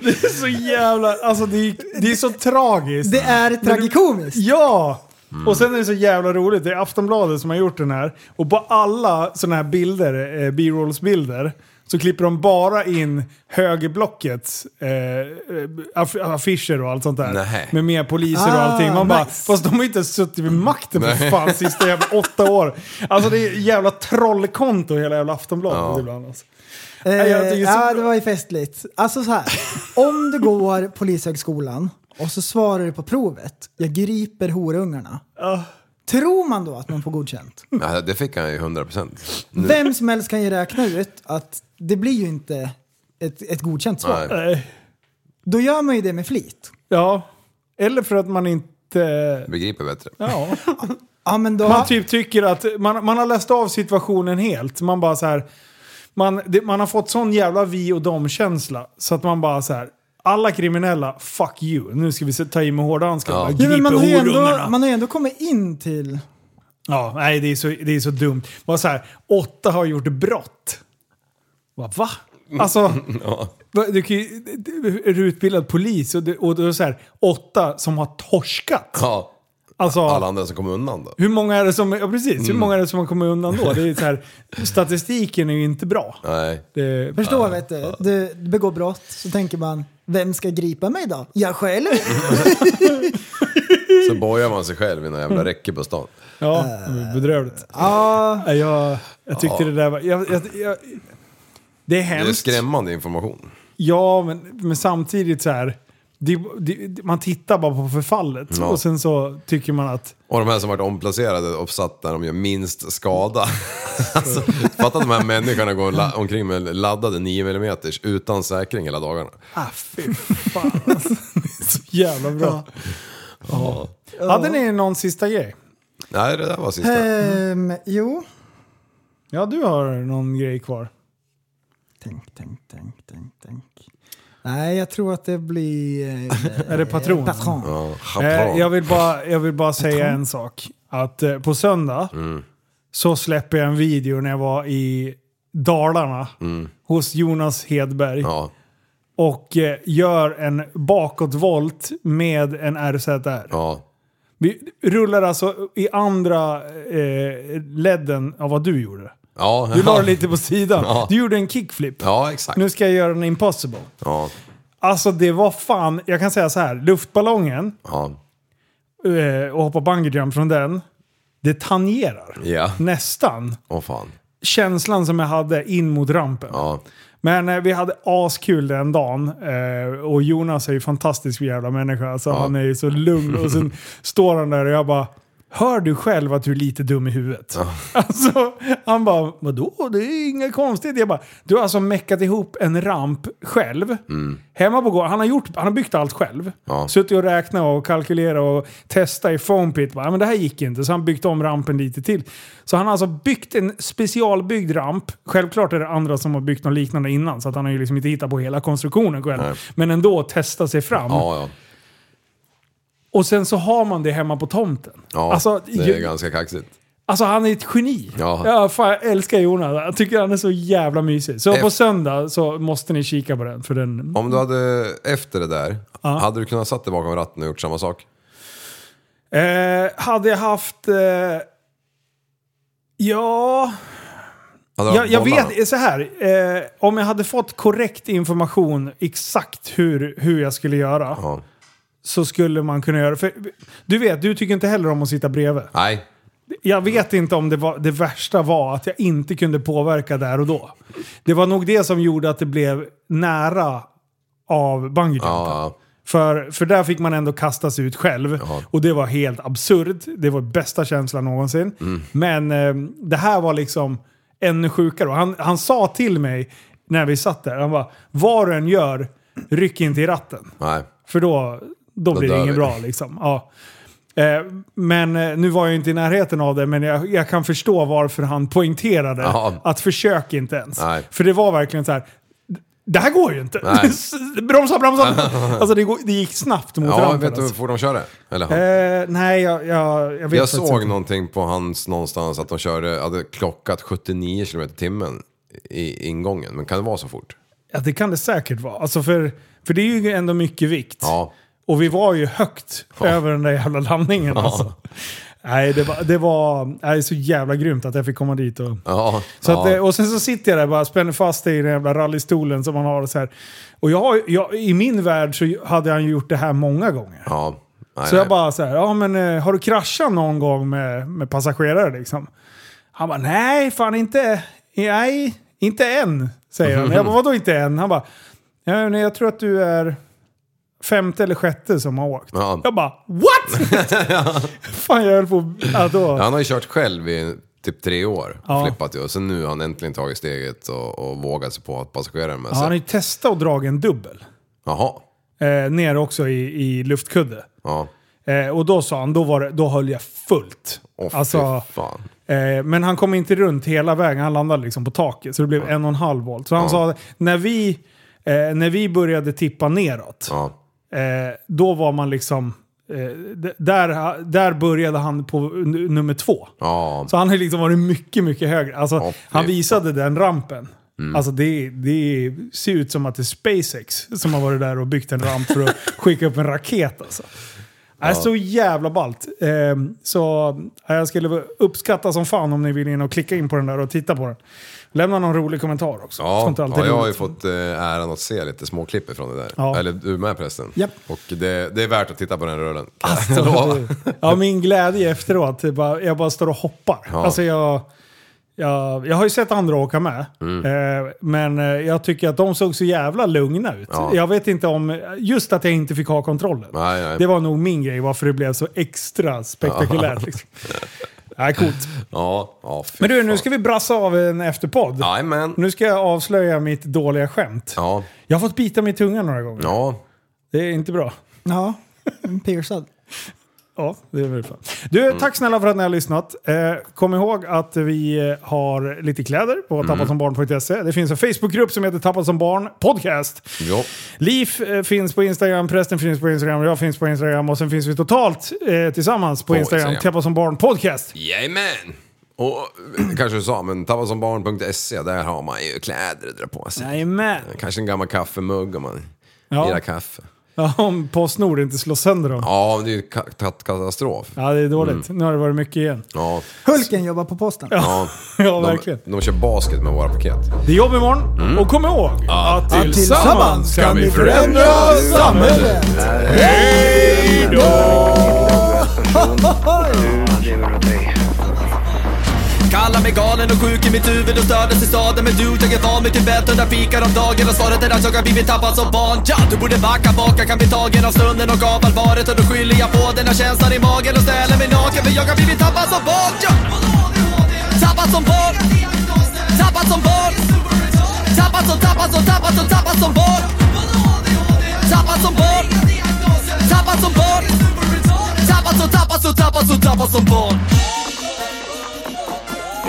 A: Det är så jävla... Alltså det är, det är så tragiskt.
B: Det är tragikomiskt.
A: Ja! Och sen är det så jävla roligt, det är Aftonbladet som har gjort den här. Och på alla sådana här bilder, eh, B-rolls-bilder, så klipper de bara in högerblockets eh, aff- affischer och allt sånt där.
C: Nej.
A: Med mer poliser och
C: Ah,
A: allting. Man bara,
C: nice.
A: fast de har inte suttit vid makten för
C: Nej.
A: fan sista jävla åtta år. Alltså det är jävla trollkonto hela jävla Aftonbladet ibland. Alltså.
B: Eh,
A: Nej, jag tycker så
B: ja, det var ju festligt. Alltså så här, om du går polishögskolan och så svarar du på provet, jag griper horungarna.
A: Ah.
B: Tror man då att man får godkänt?
C: Ja, det fick han ju 100 procent.
B: Vem som helst kan ju räkna ut att det blir ju inte ett, ett godkänt svar.
C: Nej.
B: Då gör man ju det med flit.
A: Ja, eller för att man inte...
C: Begriper bättre.
A: Ja.
B: ja men då...
A: Man typ tycker att man, man har läst av situationen helt. Man bara så här, man, det, man har fått sån jävla vi och dem-känsla. Så att man bara så här, alla kriminella, fuck you. Nu ska vi se- ta i med hårda handskar. Bara,
B: Ja, men
A: griper
B: man, har ju ändå,
A: horungarna.
B: man har ju ändå kommit in till...
A: Ja, nej det är så, det är så dumt. Bara så här, åtta har gjort brott. Va? va? Alltså,
C: Ja.
A: va- du kan ju, du är du utbildad polis och, du, och då är det så här, åtta som har torskat.
C: ja.
A: Alltså,
C: Alla andra som kom undan då.
A: Hur många är det som, ja precis, hur
C: Mm.
A: många är det som har kommit undan då? Det är så här, statistiken är ju inte bra.
C: Nej.
A: Det,
B: Förstår vet du, du begår brott så tänker man, vem ska gripa mig då? Jag själv?
C: Sen bojar man sig själv i någon
A: Mm.
C: jävla räcke på stan.
A: Ja, bedrövligt. Ja, jag, jag tyckte
C: Ja.
A: det där var... Jag, jag, jag, det är
C: Det är
A: hemskt.
C: skrämmande information.
A: Ja, men, men samtidigt så här. Det, det, man tittar bara på förfallet
C: Ja.
A: och sen så tycker man att
C: Och de här som varit omplacerade och satt där de gör minst skada. alltså, fatta att de här människorna går la- omkring med laddade 9 mm utan säkring hela dagarna.
A: ah fy fan alltså, det är så jävla bra. Ja. Hade ni någon sista grej?
C: Nej, det där var sista.
B: Ehm, jo.
A: Ja, du har någon grej kvar.
B: Tänk, tänk, tänk, tänk, tänk. Nej, jag tror att det blir... eh,
A: Är det patron?
B: Patron.
A: Eh, jag, vill bara, jag vill bara säga en sak. Att eh, på söndag
C: Mm.
A: så släpper jag en video när jag var i Dalarna
C: Mm.
A: hos Jonas Hedberg. Och eh, gör en bakåtvolt med en RZR. Vi rullar alltså i andra eh, ledden av vad du gjorde.
C: Ja.
A: Du la det lite på sidan.
C: Ja.
A: Du gjorde en kickflip.
C: Ja, exakt.
A: Nu ska jag göra en impossible.
C: Ja.
A: Alltså det var fan, jag kan säga så här. Luftballongen
C: Ja.
A: eh, och hoppa bungee jump från den. Det tangerar.
C: Ja.
A: Nästan.
C: Åh fan.
A: Känslan som jag hade in mot rampen. Men eh, vi hade askul den dagen. Eh, och Jonas är ju fantastisk jävla människa. Alltså, Han är ju så lugn. Och sen står han där och jag bara... Hör du själv att du är lite dum i huvudet? Alltså, han bara, vadå? Det är inget konstigt. Jag bara, du har alltså meckat ihop en ramp själv. Hemma på gården, han har, gjort, han har byggt allt själv. Suttit och räknat och kalkylerat och testat i foam pit. Bara, "Ja, men det här gick inte, så han byggt om rampen lite till. Så han har alltså byggt en specialbyggd ramp. Självklart är det andra som har byggt något liknande innan, så att han har ju liksom inte hittat på hela konstruktionen själv. Men ändå testa sig fram.
C: Ja, ja.
A: Och sen så har man det hemma på tomten.
C: ja.
A: Alltså,
C: det är
A: ju-
C: ganska kaxigt.
A: Alltså han är ett geni.
C: Ja.
A: Ja, fan, jag älskar Jonas. Jag tycker han är så jävla mysig. Så på söndag så måste ni kika på den. För den...
C: Om du hade, efter det där, hade du kunnat satt dig bakom ratten och gjort samma sak?
A: Eh, hade jag haft... Eh... Ja...
C: Hade du
A: Jag,
C: haft
A: jag
C: bollarna?
A: vet, så här. Eh, om jag hade fått korrekt information exakt hur, hur jag skulle göra. Så skulle man kunna göra för Du vet, du tycker inte heller om att sitta bredvid.
C: Nej.
A: Jag vet inte om det, var, det värsta var att jag inte kunde påverka där och då. Det var nog det som gjorde att det blev nära av bungee för, för där fick man ändå kasta sig ut själv. Och det var helt absurt. Det var bästa känslan någonsin. Men eh, det här var liksom ännu sjukare. Och han, han sa till mig när vi satt där, han bara “Vad du än gör, ryck inte i ratten”.
C: Nej.
A: För då, då,
C: Då
A: blir
C: dör
A: det inget
C: vi.
A: bra liksom. Ja. Eh, men eh, nu var jag ju inte i närheten av det, men jag, jag kan förstå varför han poängterade
C: Ja.
A: att försök inte ens.
C: Nej.
A: För det var verkligen så här. Det här går ju inte.
C: Nej.
A: bromsa, bromsa! Alltså det, går, det gick snabbt mot
C: Ja,
A: rampen.
C: vet du hur
A: alltså.
C: fort de kör det? Eller han?
A: eh, nej, jag, jag, jag vet
C: Jag
A: faktiskt
C: såg
A: inte.
C: någonting på hans någonstans att de körde, hade klockat 79 km i timmen i ingången. Men kan det vara så fort?
A: Ja, det kan det säkert vara. Alltså för, för det är ju ändå mycket vikt.
C: Ja.
A: Och vi var ju högt över den där jävla landningen.
C: Ja.
A: Alltså. Nej, det var, det var nej, så jävla grymt att jag fick komma dit och
C: Ja.
A: Så
C: ja.
A: att, eh, och sen så sitter jag där bara spänner fast i den jävla rallystolen som han har. Och så här. Och jag, har- jag, i min värld så hade han ju gjort det här många gånger.
C: Ja. Nej,
A: så jag
C: nej.
A: bara så här, ja men eh, har du kraschat någon gång med, med passagerare liksom? Han bara, nej fan inte, nej, inte än, säger han. Jag bara, vadå inte än? Han bara, "Ja, men jag tror att du är femte eller sjätte som har åkt.
C: Ja.
A: Jag bara, what? fan jag höll på, ja då.
C: Han har ju kört själv i typ tre år.
A: Ja.
C: Flippat ju. Och sen nu har han äntligen tagit steget och, och vågat sig på att passageraren med
A: Ja, han har
C: sig.
A: ju testat att dra en dubbel.
C: Jaha.
A: Eh, ner också i, i luftkudde.
C: Ja.
A: Eh, och då sa han, då, var det, då höll jag fullt.
C: Åh,
A: Alltså,
C: fy fan.
A: eh, men han kom inte runt hela vägen, han landade liksom på taket. Så det blev en och en halv volt. Så han
C: Ja.
A: sa, när vi, eh, när vi började tippa neråt, eh, då var man liksom... Eh, d- där, där började han på n- nummer två.
C: Ja.
A: Så han har liksom varit mycket, mycket högre. Alltså, han visade den rampen.
C: Mm.
A: Alltså det, det ser ut som att det är SpaceX som har varit där och byggt en ramp för att skicka upp en raket. Alltså. Ja.
C: Ja.
A: så jävla ballt. Ehm, så eh, jag skulle uppskatta som fan om ni vill in och klicka in på den där och titta på den. Lämna någon rolig kommentar också. Sånt är
C: Ja,
A: alltid
C: ja, jag har ju
A: roligt.
C: fått eh, äran att se lite små klipp ifrån det där.
A: Ja.
C: Eller du med förresten.
A: Japp.
C: Och det, det är värt att titta på den rullen. kan jag
A: Alltså,
C: lova.
A: det- ja, min glädje efteråt. det är bara- Jag bara står och hoppar.
C: Ja.
A: Alltså, jag, jag, jag har ju sett andra åka med.
C: Mm.
A: Eh, men eh, jag tycker att de såg så jävla lugna ut.
C: Ja.
A: Jag vet inte om... Just att jag inte fick ha kontrollen.
C: Nej, nej.
A: Det var nog min grej varför det blev så extra spektakulärt.
C: Ja.
A: Liksom. Nej, coolt.
C: Ja, ja fy
A: Men du, nu ska vi brassa av en efterpodd.
C: Jajamän.
A: Nu ska jag avslöja mitt dåliga skämt.
C: Ja.
A: Jag har fått bita mig i tungan några gånger.
C: Ja.
A: Det är inte bra.
B: Ja, en piercad.
A: Ja, det är väl fan. Du,
C: Mm.
A: tack snälla för att ni har lyssnat. Eh, kom ihåg att vi eh, har lite kläder på
C: Mm.
A: tappasombarn.se. Det finns en Facebookgrupp som heter Tappat som barn podcast.
C: Ja.
A: Liv eh, finns på Instagram, prästen finns på Instagram, jag finns på Instagram och sen finns vi totalt eh, tillsammans på,
C: På
A: Instagram,
C: Instagram.
A: Tappat som barn podcast.
C: Jajamän! Och eh, kanske du sa, men tappasombarn.se, där har man ju kläder att dra på sig.
A: Jajamän!
C: Kanske en gammal kaffemugg om man
A: Ja.
C: gillar kaffe.
A: Ja, om Postnord inte slår sönder dem.
C: Ja, det är ju ka- ka- katastrof.
A: Ja, det är dåligt. Nu har det varit mycket igen.
C: Ja.
B: Hulken jobbar på posten.
C: Ja,
A: Ja, verkligen.
C: De, de kör basket med våra paket.
A: Det är jobb imorgon.
C: Mm.
A: Och kom ihåg att,
C: tillsammans kan vi förändra
A: samhället!
N: Hej
O: Kallar mig galen och sjuk i mitt huvud och stördes i staden Men du, jag är van vid Tibet och där fikar om dagen Och svaret är att jag har blivit tappad som barn ja, Du borde backa bak, jag kan bli tagen av stunden och av allvaret Och då skyller jag på den här känslan i magen och ställer mig naken För jag har blivit tappad som barn ja. Tappad som barn Tappad som barn Tappad som, tappad som, tappad som, tappad som barn Tappad som barn Tappad som barn Tappad som, tappad som, tappad som, tappad som barn